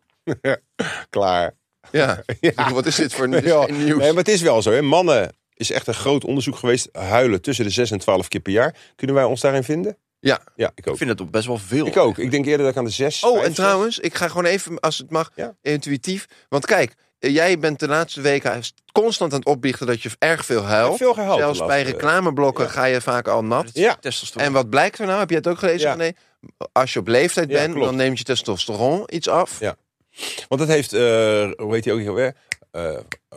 S2: Klaar.
S4: Ja, Ik bedoel, wat is dit voor dit is
S2: Ja,
S4: geen nieuws?
S2: Nee, maar het is wel zo. Hè? Mannen is echt een groot onderzoek geweest. Huilen tussen de 6 en 12 keer per jaar. Kunnen wij ons daarin vinden?
S4: Ja.
S2: Ja, ik ook.
S3: Ik vind dat toch best wel veel.
S2: Ik ook. Ik denk eerder dat ik aan de 6.
S4: Oh, en trouwens, ik ga gewoon even, als het mag,
S2: Ja.
S4: intuïtief. Want kijk, eh, jij bent de laatste weken constant aan het opbiechten dat je erg veel huilt.
S2: Veel gehuild.
S4: Zelfs
S2: de
S4: bij
S2: laatste-
S4: reclameblokken ga je vaak al nat.
S2: Ja.
S4: En
S3: Testosteron.
S4: wat blijkt er nou? Heb je het ook gelezen?
S2: Ja.
S4: Nee. Als je op leeftijd
S2: Ja,
S4: bent,
S2: klopt.
S4: dan neemt je testosteron iets af.
S2: Ja. Want dat heeft, eh, hoe heet hij ook weer? Eh I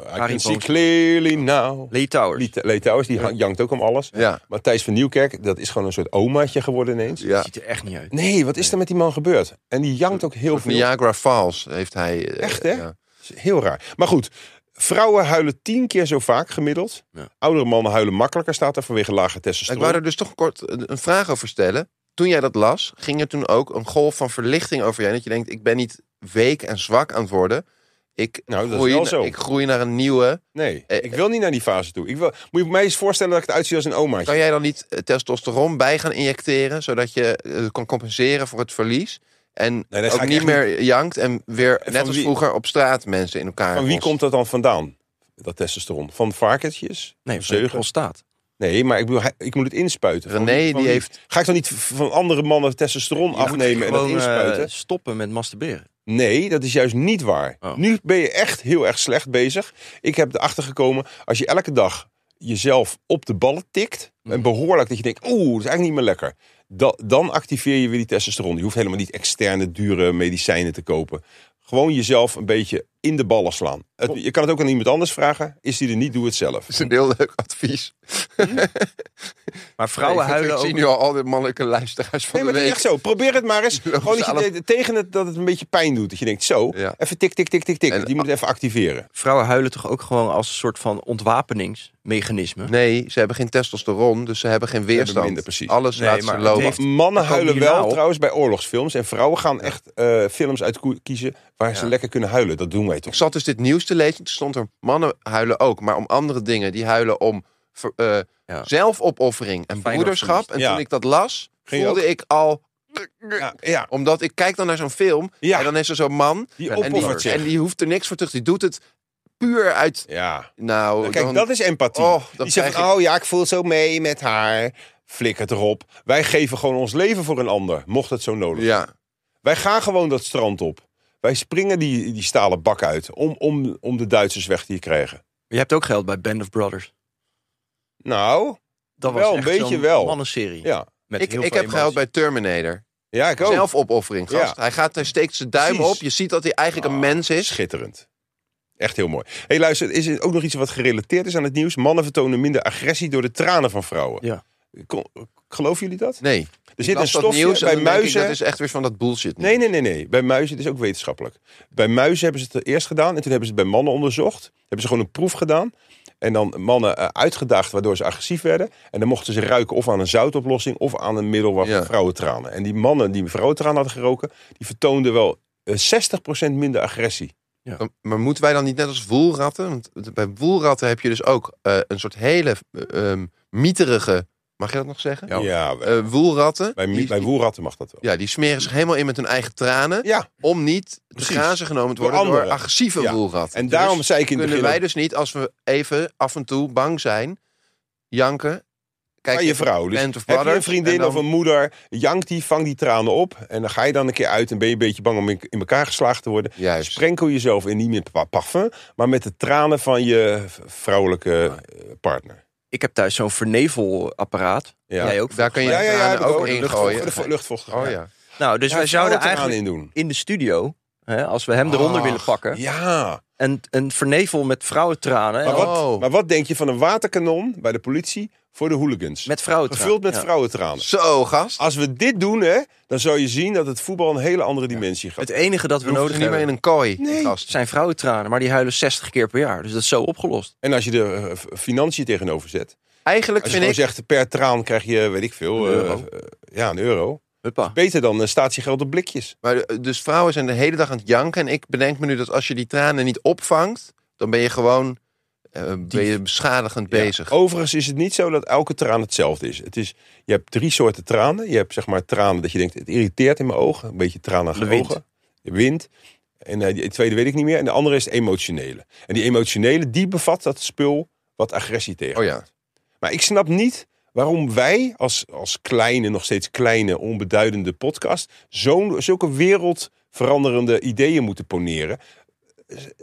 S3: Harry
S2: can see
S3: Boos.
S2: clearly now.
S3: Lee Towers.
S2: Lee, Lee Towers, die hang- jankt ook om alles.
S4: Ja.
S2: Maar Thijs van Nieuwkerk, dat is gewoon een soort omaatje geworden ineens.
S4: ja.
S3: Ziet er echt niet uit.
S2: Nee, wat is er met die man gebeurd? En die jankt ook heel veel.
S4: Niagara Falls heeft hij. eh,
S2: Echt, hè?
S4: ja.
S2: Dat is Heel raar. Maar goed, vrouwen huilen tien keer zo vaak gemiddeld.
S3: Ja.
S2: Oudere mannen huilen makkelijker, staat er vanwege lage
S4: Ik
S2: testosteron.
S4: wou er dus toch kort een een vraag over stellen. Toen jij dat las, ging er toen ook een golf van verlichting over je. Dat je denkt, ik ben niet week en zwak aan het worden. Ik,
S2: Nou, dat is
S4: groei,
S2: wel
S4: na-
S2: zo.
S4: ik groei naar een nieuwe.
S2: Nee,
S4: Eh,
S2: ik wil niet naar die fase toe. Ik wil, moet je mij eens voorstellen dat ik het uitzie als een omaatje.
S4: Kan jij dan niet eh, testosteron bij gaan injecteren, zodat je eh, kan compenseren voor het verlies? En
S2: Nee, dat ga
S4: ook
S2: ik
S4: niet
S2: echt
S4: meer jankt en weer,
S2: En
S4: net
S2: van
S4: als
S2: wie-
S4: vroeger, op straat mensen in elkaar.
S2: Van wie
S4: rost.
S2: komt dat dan vandaan? Dat testosteron? Van varkentjes?
S3: Nee, van de
S2: Zeugen?
S3: prostaat.
S2: Nee, maar ik, bedoel, hij- ik moet het inspuiten. Van
S4: René,
S2: wie- van
S4: die
S2: wie-
S4: heeft-
S2: Ga ik dan niet v- van andere mannen testosteron afnemen en dat
S3: Gewoon eh,
S2: inspuiten?
S3: stoppen met masturberen.
S2: Nee, dat is juist niet waar.
S3: Oh.
S2: Nu ben je echt heel erg slecht bezig. Ik heb erachter gekomen, als je elke dag jezelf op de ballen tikt... en behoorlijk dat je denkt, oeh, dat is eigenlijk niet meer lekker... Da- dan activeer je weer die testosteron. Je hoeft helemaal niet externe, dure medicijnen te kopen. Gewoon jezelf een beetje in de ballen slaan. Het- je kan het ook aan iemand anders vragen. Is die er niet, doe het zelf.
S4: Dat is een heel leuk advies.
S3: Maar vrouwen
S4: ik,
S3: huilen
S4: Ik zie
S3: ook.
S4: nu al al die mannelijke luisteraars van
S2: Nee, maar
S4: de
S2: het is
S4: week.
S2: echt zo. Probeer het maar eens.
S4: lopen
S2: Gewoon
S4: ze
S2: dat je de- tegen het dat het een beetje pijn doet. Dat je denkt, zo,
S4: Ja.
S2: even tik, tik, tik, tik, tik.
S4: En- ah.
S2: Die moet even activeren.
S3: Vrouwen huilen toch ook gewoon als een soort van ontwapeningsmechanisme.
S4: Nee, ze hebben geen testosteron, dus ze hebben geen weerstand.
S2: minder, precies.
S4: Alles
S3: Nee,
S4: laat
S3: maar
S4: ze
S3: het
S4: lopen.
S3: heeft-
S2: Mannen
S3: Dan komen
S2: huilen
S3: die
S2: wel
S3: na op.
S2: trouwens bij oorlogsfilms. En vrouwen gaan echt eh, films uit ko- kiezen waar ze
S3: Ja.
S2: lekker kunnen huilen. Dat doen wij
S4: Ik
S2: toch?
S4: zat dus dit nieuws te lezen. Toen stond er mannen huilen ook, maar om andere dingen. Die huilen om ver- eh,
S3: Ja.
S4: zelfopoffering en
S3: Feyenoord
S4: broederschap.
S3: verliest.
S4: En
S2: Ja.
S4: toen ik dat las,
S2: Ging je
S4: voelde ik al...
S2: Ja, ja.
S4: Omdat ik kijk dan naar zo'n film
S2: Ja.
S4: en dan is er zo'n man...
S2: die
S3: en
S4: En die,
S2: opoffert zich.
S4: en die hoeft er niks voor terug. Die doet het puur uit...
S2: Ja.
S4: Nou,
S2: Kijk,
S4: dan-
S2: dat is empathie.
S4: Oh, dan
S2: die zegt,
S4: krijg
S2: van, oh ja, ik voel zo mee met haar. Flikker het erop. Wij geven gewoon ons leven voor een ander, mocht het zo nodig
S4: Ja,
S2: Wij gaan gewoon dat strand op. Wij springen die, die stalen bak uit om, om, om de Duitsers weg te krijgen.
S3: Je hebt ook geld bij Band of Brothers.
S2: Nou,
S3: Dat was
S2: Wel, een
S3: echt
S2: beetje
S3: zo'n
S2: wel.
S3: mannenserie.
S2: ja.
S3: Met
S4: ik,
S3: heel
S4: ik
S3: veel
S4: heb gehuild
S3: emotie.
S4: bij Terminator.
S2: Ja, ik ook.
S4: Zelfopoffering, gast.
S2: Ja.
S4: Hij, gaat, hij steekt zijn duim
S2: Precies.
S4: op. Je ziet dat hij eigenlijk
S2: Ah,
S4: een mens is.
S2: Schitterend. Echt heel mooi. hey, luister, is er ook nog iets wat gerelateerd is aan het nieuws? Mannen vertonen minder agressie door de tranen van vrouwen.
S3: Ja.
S2: Kon- Geloven jullie dat?
S4: Nee.
S2: Er
S4: Ik
S2: zit
S4: las
S2: een
S4: dat
S2: stofje
S4: nieuws en
S2: bij
S4: dan denk ik,
S2: muizen.
S4: dat is echt weer van dat bullshit.
S2: Nee, nee, nee, nee. Bij muizen, het is ook wetenschappelijk. Bij muizen hebben ze het eerst gedaan en toen hebben ze het bij mannen onderzocht. Hebben ze gewoon een proef gedaan. En dan mannen eh, uitgedaagd waardoor ze agressief werden. En dan mochten ze ruiken of aan een zoutoplossing of aan een middel waar
S4: Ja.
S2: vrouwentranen. En die mannen die vrouwentranen hadden geroken, die vertoonden wel eh, 60% minder agressie.
S4: Dan- Maar moeten wij dan niet net als woelratten? Want bij woelratten heb je dus ook eh, een soort hele eh, ehm, mieterige. Mag je dat nog zeggen?
S2: Ja, bij,
S4: Eh, woelratten.
S2: bij,
S4: die-
S2: bij woelratten mag dat wel.
S4: ja, die smeren zich helemaal in met hun eigen tranen.
S2: Ja,
S4: Om niet
S2: Precies.
S4: te grazen genomen te worden
S2: Door
S4: door,
S2: anderen.
S4: agressieve
S2: Ja.
S4: woelratten.
S2: en daarom
S4: Dus
S2: zei ik in het
S4: kunnen
S2: begin...
S4: wij
S2: ook,
S4: dus niet, als we even af en toe bang zijn, janken. Kijk,
S2: Aan je vrouw. Dus
S4: Band of
S2: Heb je een
S4: Brothers,
S2: vriendin
S4: en dan-
S2: of een moeder, jank die, vang die tranen op. En dan ga je dan een keer uit en ben je een beetje bang om in, in elkaar geslagen te worden.
S4: Juist.
S2: Sprenkel jezelf in niet met pa- parfum, maar met de tranen van je v- vrouwelijke eh, partner.
S3: Ik heb thuis zo'n vernevelapparaat.
S2: Ja.
S3: Jij ook?
S4: Daar kun je
S2: Ja, ja, ja, heb
S4: tranen
S2: ik
S4: ook
S2: ook.
S4: in
S2: Luchtvocht-
S4: gooien.
S2: luchtvocht- luchtvocht-
S4: Oh
S2: ja.
S4: ja.
S3: Nou, dus wij zouden eigenlijk
S2: aan in doen.
S3: in de studio, hè, als we hem eronder
S2: Ah,
S4: Ach,
S3: willen pakken,
S2: Ja,
S3: een, een vernevel met vrouwentranen.
S2: maar
S3: en
S2: wat,
S4: Oh.
S2: maar wat denk je van een waterkanon bij de politie voor de hooligans?
S3: met vrouwentranen.
S2: Gevuld met
S3: Ja.
S2: vrouwentranen.
S4: Zo, gast.
S2: Als we dit doen, hè, dan zou je zien dat het voetbal een hele andere dimensie gaat.
S3: Het enige dat we
S4: We hoeven
S3: nodig
S4: ze niet
S3: hebben
S4: meer in een kooi.
S2: Nee.
S4: Gast.
S3: zijn vrouwentranen, maar die huilen 60 keer per jaar. Dus dat is zo opgelost.
S2: En als je de eh, f- financiën tegenover zet.
S4: Eigenlijk
S2: Als je
S4: vind
S2: gewoon
S4: ik.
S2: zegt, per traan krijg je, weet ik veel,
S3: Een
S2: eh,
S3: euro.
S2: eh, ja, een euro.
S3: Huppa.
S2: Beter dan eh, statiegeld op blikjes.
S4: Maar eh, dus vrouwen zijn de hele dag aan het janken. En ik bedenk me nu dat als je die tranen niet opvangt, dan ben je gewoon eh, ben je beschadigend bezig.
S2: Ja. Oh, Overigens is het niet zo dat elke traan hetzelfde is. Het is. Je hebt drie soorten tranen. Je hebt zeg maar tranen dat je denkt, het irriteert in mijn ogen. Een beetje tranen aan
S3: De wind.
S2: ogen. De wind. En eh, die tweede weet ik niet meer. En de andere is het emotionele. En die emotionele, die bevat dat spul wat agressie tegen.
S4: Oh ja.
S2: Maar ik snap niet waarom wij als, als kleine, nog steeds kleine, onbeduidende podcast... zo'n zulke wereldveranderende ideeën moeten poneren.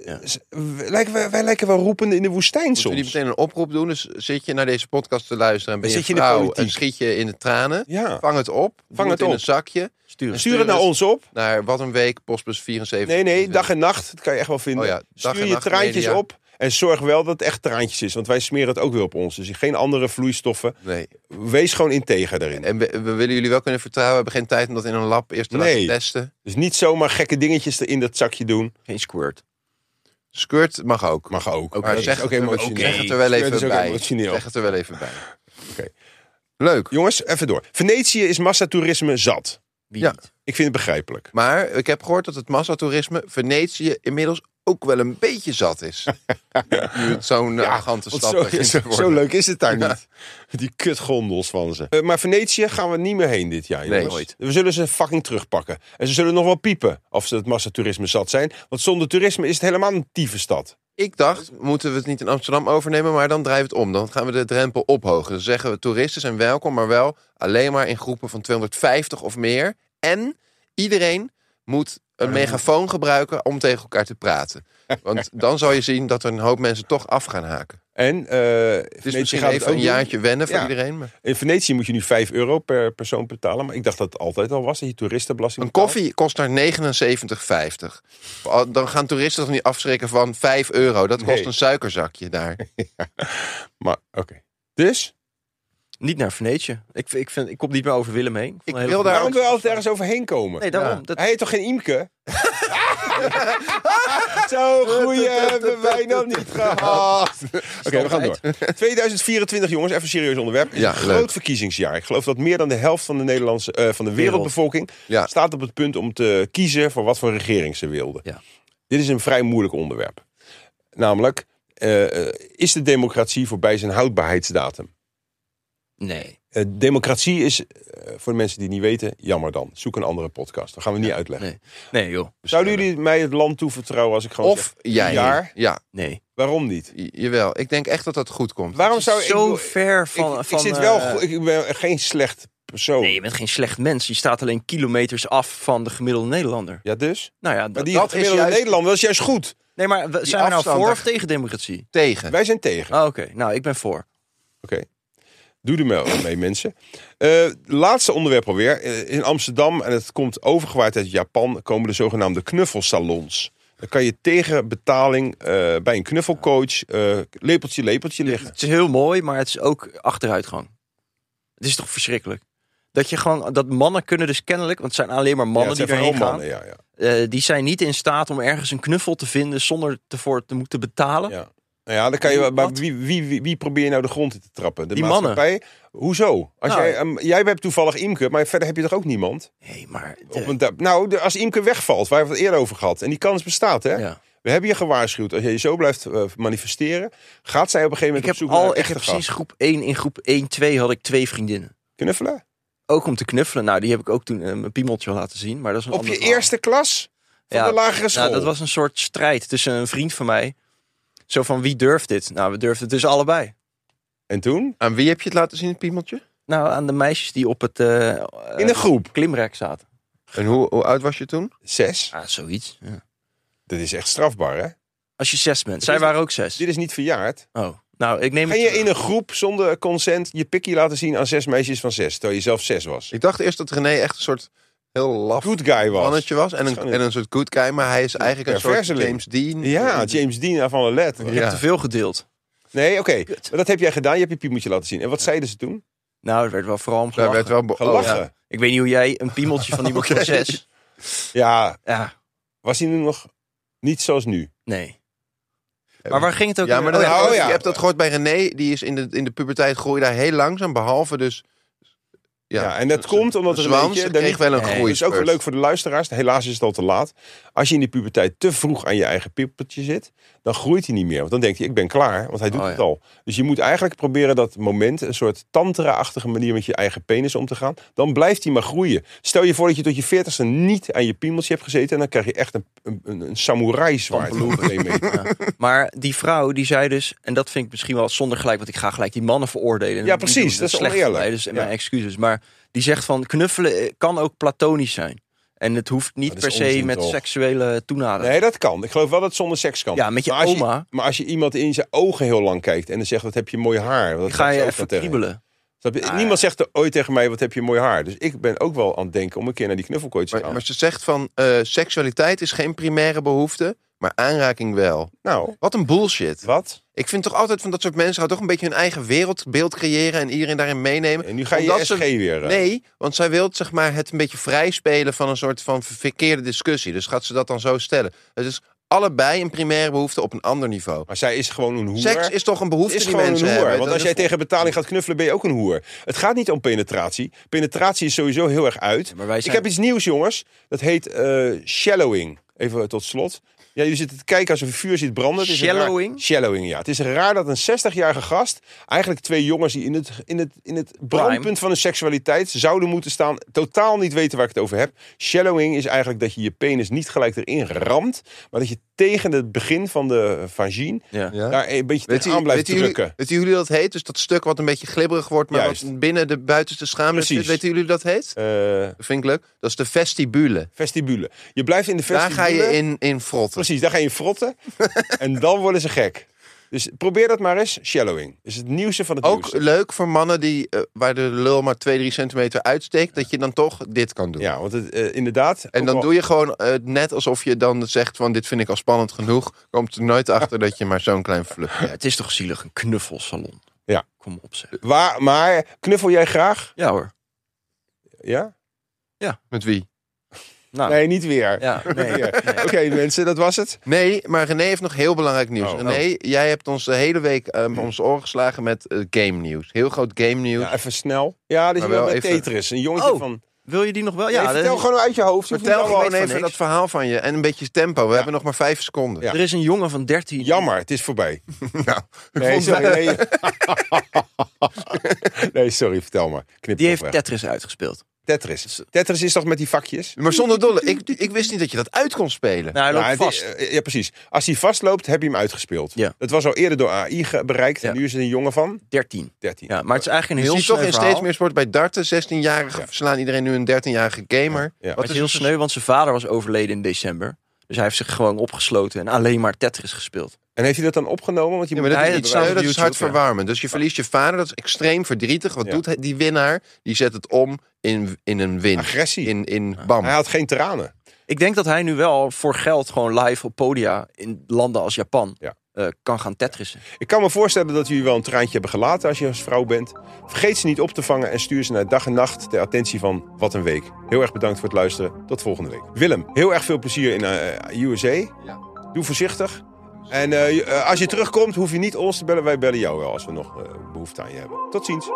S3: Ja.
S2: Z- we- Lijken wij, wij lijken wel roepende in de woestijn
S4: Moeten we
S2: soms.
S4: niet meteen een oproep doen? Dus zit je naar deze podcast te luisteren en ben je,
S2: Zit je in de
S4: vrouw
S2: politiek?
S4: en schiet je in de tranen?
S2: Ja.
S4: Vang het op. Vang
S2: het
S4: het, in
S2: op.
S4: een zakje.
S3: Stuur het.
S2: Stuur het naar
S4: Dus-
S2: ons op.
S4: Naar wat een week, postbus 74.
S2: Nee, nee, dag en nacht. Dat kan je echt wel vinden.
S4: Oh ja, dag
S2: Stuur
S4: en
S2: je
S4: nacht
S2: traantjes
S4: media.
S2: op. En zorg wel dat het echt traantjes is. Want wij smeren het ook weer op ons. Dus geen andere vloeistoffen.
S4: Nee.
S2: Wees gewoon integer daarin.
S4: En we, we willen jullie wel kunnen vertrouwen. We hebben geen tijd om dat in een lab eerst te
S2: Nee.
S4: laten testen.
S2: Dus niet zomaar gekke dingetjes in dat zakje doen.
S3: Geen squirt.
S4: Skirt mag ook.
S2: Mag ook.
S4: Maar
S2: Dat is
S4: zeg,
S2: ook
S4: het er,
S2: emotioneel.
S4: zeg het er wel
S2: Squirt is
S4: even
S2: ook
S4: bij.
S2: emotioneel.
S4: Zeg het er wel even bij.
S2: Oké.
S4: Leuk.
S2: Jongens, even door. Venetië is massatoerisme zat.
S3: Wie
S4: Ja.
S3: niet?
S2: Ik vind het begrijpelijk.
S4: Maar ik heb gehoord dat het massatoerisme Venetië inmiddels ook wel een beetje zat is. nu het zo'n arrogante
S2: Want
S4: stad
S2: zo,
S4: begint te
S2: zo,
S4: worden.
S2: zo leuk is het daar
S4: Ja.
S2: niet. Die kutgondels van ze. Eh, maar Venetië gaan we niet meer heen dit jaar, jongens.
S4: nooit.
S2: We zullen ze fucking terugpakken. En ze zullen nog wel piepen of ze het massatoerisme zat zijn. Want zonder toerisme is het helemaal een tieve stad.
S4: Ik dacht, moeten we het niet in Amsterdam overnemen, maar dan draaien we het om. Dan gaan we de drempel ophogen. Dan zeggen we, toeristen zijn welkom, maar wel alleen maar in groepen van 250 of meer. En iedereen moet een megafoon gebruiken om tegen elkaar te praten. Want dan zal je zien dat er een hoop mensen toch af gaan haken.
S2: En eh
S4: Het is
S2: Venetië
S4: misschien
S2: gaat het
S4: even
S2: ook
S4: een
S2: doen.
S4: jaartje wennen voor
S2: Ja.
S4: iedereen. Maar...
S2: In Venetië moet je nu 5 euro per persoon betalen. Maar ik dacht dat het altijd al was. Dat je toeristenbelasting
S4: Een
S2: betaalt.
S4: koffie kost daar 79,50. Al- Dan gaan toeristen toch niet afschrikken van 5 euro. Dat kost
S2: Nee.
S4: een suikerzakje daar.
S2: Maar oké. Dus,
S3: Niet naar Venetië. Ik, ik, vind, ik kom niet meer over Willem heen. vond
S4: Ik
S3: een hele
S4: wil
S3: goede-
S4: daar-
S2: waarom wil je altijd ergens overheen komen?
S3: Nee, daarom.
S4: Ja.
S3: Dat,
S2: Hij heet toch geen Imke? Zo goeie hebben wij nog niet gehad. Oké, we gaan door. 2024, jongens, even een serieus onderwerp. Het is
S4: Ja,
S2: een groot
S4: leuk.
S2: verkiezingsjaar. Ik geloof dat meer dan de helft van de, Nederlandse, eh, van de wereldbevolking...
S4: Ja.
S2: staat op het punt om te kiezen voor wat voor regering ze wilden.
S3: Ja.
S2: Dit is een vrij moeilijk onderwerp. Namelijk, eh, eh, is de democratie voorbij zijn houdbaarheidsdatum?
S3: Nee.
S2: Eh, democratie is, eh, voor de mensen die het niet weten, jammer dan. Zoek een andere podcast. Dat gaan we niet uitleggen.
S3: Nee. Nee, joh.
S2: Zouden jullie mij het land toevertrouwen als ik gewoon zeg,
S4: Of jij.
S2: jaar?
S4: Ja,
S3: Nee.
S2: waarom niet?
S4: j- jawel. Ik denk echt dat dat goed komt.
S2: Waarom zou ik...
S3: Zo
S2: ik-
S3: ver
S2: ik,
S3: van...
S2: ik
S3: van,
S2: zit wel...
S3: eh,
S2: go- ik ben geen slecht persoon.
S3: Nee, je bent geen slecht mens. Je staat alleen kilometers af van de gemiddelde Nederlander.
S2: Ja, dus?
S3: Nou ja,
S2: Maar
S3: dat,
S2: die
S3: dat is
S2: gemiddelde
S3: juist...
S2: Nederlander, dat is juist goed.
S3: Nee, maar we- zijn we nou
S4: afstand
S3: voor
S4: daar-
S3: of tegen democratie?
S4: Tegen.
S2: Wij zijn tegen.
S3: Ah, Oké, nou, ik ben voor.
S2: Oké. Doe er maar mee, mensen. Eh, laatste onderwerp alweer. Eh, in Amsterdam, en het komt overgewaaid uit Japan, komen de zogenaamde knuffelsalons. Dan kan je tegen betaling eh, bij een knuffelcoach eh, lepeltje, lepeltje liggen.
S3: Het is heel mooi, maar het is ook achteruitgang. Het is toch verschrikkelijk. Dat je gewoon, dat mannen kunnen dus kennelijk, want het zijn alleen maar
S2: Ja,
S3: mannen die
S2: het zijn
S3: daarheen
S2: vooral
S3: gaan.
S2: mannen, Ja, ja.
S3: eh, die zijn niet in staat om ergens een knuffel te vinden zonder ervoor te moeten betalen.
S2: Ja. Nou ja, dan kan je wel. Maar
S3: Wat?
S2: wie, wie, wie, wie probeer je nou de grond in te trappen? De
S3: Die mannen.
S2: maatschappij? Hoezo? Als
S3: Nou,
S2: jij, ehm, jij hebt toevallig Imke, maar verder heb je toch ook niemand?
S3: Nee, maar. de-
S2: Op een da- nou, de- als Imke wegvalt, waar hebben we het eerder over gehad. En die kans bestaat, hè?
S3: ja.
S2: We hebben je gewaarschuwd. Als jij zo blijft eh, manifesteren, gaat zij op een gegeven moment
S3: Ik
S2: op
S3: heb
S2: zoek naar
S3: al,
S2: een
S3: ik
S2: echte
S3: heb
S2: gast.
S3: precies groep 1 in groep 1, 2 had ik twee vriendinnen.
S2: Knuffelen?
S3: Ook om te knuffelen. Nou, die heb ik ook toen eh, mijn piemeltje laten zien. Maar dat is een
S2: Op
S3: ander
S2: je
S3: verhaal.
S2: eerste klas van
S3: Ja,
S2: de lagere school.
S3: Nou, dat was een soort strijd tussen een vriend van mij. Zo van wie durft dit? Nou, we durfden het dus allebei.
S2: En toen?
S4: Aan wie heb je het laten zien, het piemeltje?
S3: Nou, aan de meisjes die op het eh, eh,
S2: In de groep.
S3: klimrek zaten.
S4: En hoe, hoe oud was je toen?
S2: Zes.
S3: Ah, zoiets. Ja.
S2: Dat is echt strafbaar, hè?
S3: Als je zes bent. Zij
S2: is-
S3: waren ook zes.
S2: Dit is niet verjaard.
S3: Oh, nou, ik neem
S2: Ga
S3: het
S2: je
S3: terug.
S2: in een groep zonder consent je pikkie laten zien aan zes meisjes van zes, terwijl je zelf zes was?
S4: Ik dacht eerst dat René echt een soort heel laf
S2: Good guy was.
S4: mannetje was. En een,
S2: Schoon.
S4: en een soort good guy, maar hij is eigenlijk een soort
S2: perverseling.
S4: James Dean.
S2: Ja, James Dean van der Let.
S3: Ik heb
S4: Ja.
S3: te veel gedeeld.
S2: Nee, oké.
S3: Kut.
S2: Maar dat heb jij gedaan. Je hebt je piemeltje laten zien. En wat zeiden ze toen?
S3: Nou, het werd wel vooral om
S4: Daar
S3: gelachen.
S4: werd wel be- oh,
S2: Gelachen.
S4: ja.
S2: ja.
S3: Ik weet niet hoe jij een piemeltje van iemand van
S4: Oké.
S3: zes... Ja,
S2: was hij nu nog niet zoals nu?
S3: nee. Maar waar ging het ook
S4: Ja,
S3: in-
S4: maar dat
S3: oh,
S4: heb
S2: Oh,
S4: ik ook-
S2: ja.
S4: je hebt dat gehoord bij René. Die is in de, in de puberteit groeide daar heel langzaam. Behalve dus...
S2: Ja, en dat komt omdat er een
S4: Zwans
S2: beetje-
S4: kreeg wel een
S3: Nee,
S4: groei.
S2: Het is dus ook wel leuk voor de luisteraars. Helaas is het al te laat. Als je in de puberteit te vroeg aan je eigen pippeltje zit, dan groeit hij niet meer. Want dan denkt hij, ik ben klaar, want hij doet
S3: Oh,
S2: het
S3: ja.
S2: al. Dus je moet eigenlijk proberen dat moment, een soort tantra-achtige manier met je eigen penis om te gaan. Dan blijft hij maar groeien. Stel je voor dat je tot je veertigste niet aan je piemeltje hebt gezeten. En dan krijg je echt een, een, een, een samurai-zwaard. van twee meter.
S3: Maar die vrouw die zei dus, en dat vind ik misschien wel zonder gelijk, want ik ga gelijk die mannen veroordelen.
S2: Ja,
S3: Die
S2: precies,
S3: doen
S2: dat is
S3: slecht van
S2: oneerlijk.
S3: mij, dus
S2: Ja.
S3: mijn excuses. Maar die zegt van knuffelen eh, kan ook platonisch zijn. En het hoeft niet
S2: Dat is
S3: per se
S2: onzin,
S3: met
S2: toch?
S3: seksuele toenadering.
S2: Nee, dat kan. Ik geloof wel dat het zonder seks kan.
S3: Ja, met je
S2: Maar als
S3: oma.
S2: maar als je iemand in zijn ogen heel lang kijkt en dan zegt, wat heb je mooi haar. Dat
S3: Dan ga
S2: zegt ze
S3: je
S2: ook
S3: even
S2: wel tegen
S3: kriebelen.
S2: Snap je?
S3: Ah,
S2: Niemand zegt er ooit tegen mij, wat heb je mooi haar. Dus ik ben ook wel aan het denken om een keer naar die knuffelkooitjes te
S4: Maar,
S2: gaan.
S4: maar ze zegt van, eh, seksualiteit is geen primaire behoefte, maar aanraking wel.
S2: nou,
S4: Wat een bullshit.
S2: wat?
S4: Ik vind toch altijd van dat soort mensen gaan toch een beetje hun eigen wereldbeeld creëren en iedereen daarin meenemen.
S2: En nu ga je
S4: Omdat
S2: je SG
S4: ze-
S2: weer... eh,
S4: Nee, want zij wil zeg maar, het een beetje vrijspelen van een soort van verkeerde discussie. Dus gaat ze dat dan zo stellen. Het is allebei een primaire behoefte op een ander niveau.
S2: Maar zij is gewoon een hoer.
S4: Seks is toch een behoefte
S2: is
S4: die
S2: gewoon een
S4: mensen
S2: hoer.
S4: hebben.
S2: Want
S4: Dat
S2: als jij
S4: is-
S2: tegen betaling gaat knuffelen, ben je ook een hoer. Het gaat niet om penetratie. Penetratie is sowieso heel erg uit.
S3: Maar wij
S2: Ik
S3: zijn...
S2: heb iets nieuws, jongens. Dat heet eh, shallowing. Even tot slot. Ja, jullie zitten te kijken als een vuur ziet branden. Het is een raar-
S3: Shallowing?
S2: shallowing, ja. Het is raar dat een 60-jarige gast... eigenlijk twee jongens die in het, in het, in het brandpunt van hun seksualiteit... zouden moeten staan, totaal niet weten waar ik het over heb. Shallowing is eigenlijk dat je je penis niet gelijk erin ramt... maar dat je tegen het begin van de vagine...
S3: Ja.
S4: Ja.
S2: daar een beetje
S4: Weet
S2: tegenaan blijft
S4: weten
S2: drukken.
S4: jullie, weten jullie dat heet? Dus dat stuk wat een beetje glibberig wordt, maar
S2: Juist.
S4: wat binnen de buitenste schaamte
S2: Precies.
S4: zit. Weten jullie dat heet?
S2: Eh,
S4: Dat vind ik leuk. Dat is de vestibule.
S2: vestibule. Je blijft in de
S4: Daar
S2: vestibule...
S4: ga je in, in frotten.
S2: Precies, daar ga je in frotten. en dan worden ze gek. Dus probeer dat maar eens. Shallowing. is het nieuwste van het
S4: Ook
S2: nieuwste.
S4: leuk voor mannen die, eh, waar de lul maar 2, 3 centimeter uitsteekt, dat je dan toch dit kan doen.
S2: Ja, want het, eh, inderdaad.
S4: En dan doe je gewoon eh, net alsof je dan zegt van dit vind ik al spannend genoeg. Komt er nooit achter dat je maar zo'n klein vlucht
S3: Ja, het is toch zielig, een knuffelsalon.
S2: Ja.
S3: Kom op zeg.
S2: Waar, maar knuffel jij graag?
S3: Ja hoor.
S2: Ja?
S4: Met wie?
S3: Nou,
S2: Nee, niet weer.
S3: ja, nee.
S2: Niet weer. Oké, mensen, dat was het.
S4: Nee, maar René heeft nog heel belangrijk nieuws.
S2: Oh.
S4: René, jij hebt ons de hele week eh, om ons oren geslagen met eh, game nieuws. Heel groot game nieuws.
S2: Ja, even snel. Ja, dit is
S4: Maar
S2: wel
S4: wel
S2: met
S4: even-
S2: Tetris. Een jongetje
S3: Oh,
S2: van...
S3: Wil je die nog wel?
S2: Ja,
S3: Ja,
S2: nee,
S3: dat-
S2: vertel gewoon uit je hoofd. Je hoeft
S4: Vertel
S2: niet allemaal
S4: gewoon
S2: uit
S4: even
S2: van
S4: dat
S2: niks.
S4: verhaal van je en een beetje tempo. We hebben nog maar vijf seconden.
S2: Ja.
S3: er is een jongen van 13.
S2: Jammer, het is voorbij.
S4: Nou,
S2: Nee,
S4: vond
S2: sorry. Nee, nee sorry, vertel maar. Knip
S3: Die
S2: het
S3: heeft
S2: weg.
S3: Tetris uitgespeeld.
S2: Tetris. Tetris is toch met die vakjes?
S4: Maar zonder dolle, ik, ik wist niet dat je dat uit kon spelen.
S3: Nou, hij loopt
S2: Ja, het-
S3: vast.
S2: eh, ja, precies. Als hij vastloopt, heb je hem uitgespeeld.
S3: Ja.
S2: Dat was al eerder door AI ge- bereikt. En
S3: Ja.
S2: nu is het een jongen van
S3: 13.
S2: 13.
S3: Ja, maar het is eigenlijk
S4: Je
S3: een heel
S4: ziet toch
S3: sneu
S4: in
S3: verhaal.
S4: steeds meer sport bij darten. 16-jarigen
S2: Ja.
S4: verslaan iedereen nu een 13-jarige gamer.
S2: Ja.
S3: Maar het
S4: Wat is
S3: is heel
S4: Dus het vers-
S3: sneu, want zijn vader was overleden in december. Dus hij heeft zich gewoon opgesloten en alleen maar Tetris gespeeld.
S2: En heeft hij dat dan opgenomen? Want je
S4: Ja,
S2: moet
S4: maar dat,
S3: Hij-
S4: is,
S3: het
S4: niet
S3: staat
S4: sneu,
S3: op
S4: dat is
S3: YouTube,
S4: hartverwarmend. Dus je verliest je vader, dat is extreem verdrietig. Wat
S2: Ja.
S4: doet hij- die winnaar? Die zet het om in, in een win.
S2: agressie.
S4: In, in bam.
S2: Hij had geen tranen.
S3: Ik denk dat hij nu wel voor geld gewoon live op podia in landen als Japan
S2: Ja.
S3: eh, kan gaan tetrissen.
S2: Ik kan me voorstellen dat jullie wel een traantje hebben gelaten als je als vrouw bent. Vergeet ze niet op te vangen en stuur ze naar dag en nacht ter attentie van Wat een Week. Heel erg bedankt voor het luisteren. Tot volgende week. Willem, heel erg veel plezier in eh, USA. Doe voorzichtig. En eh, je- eh, als je terugkomt, hoef je niet ons te bellen. Wij bellen jou wel als we nog eh, behoefte aan je hebben. Tot ziens.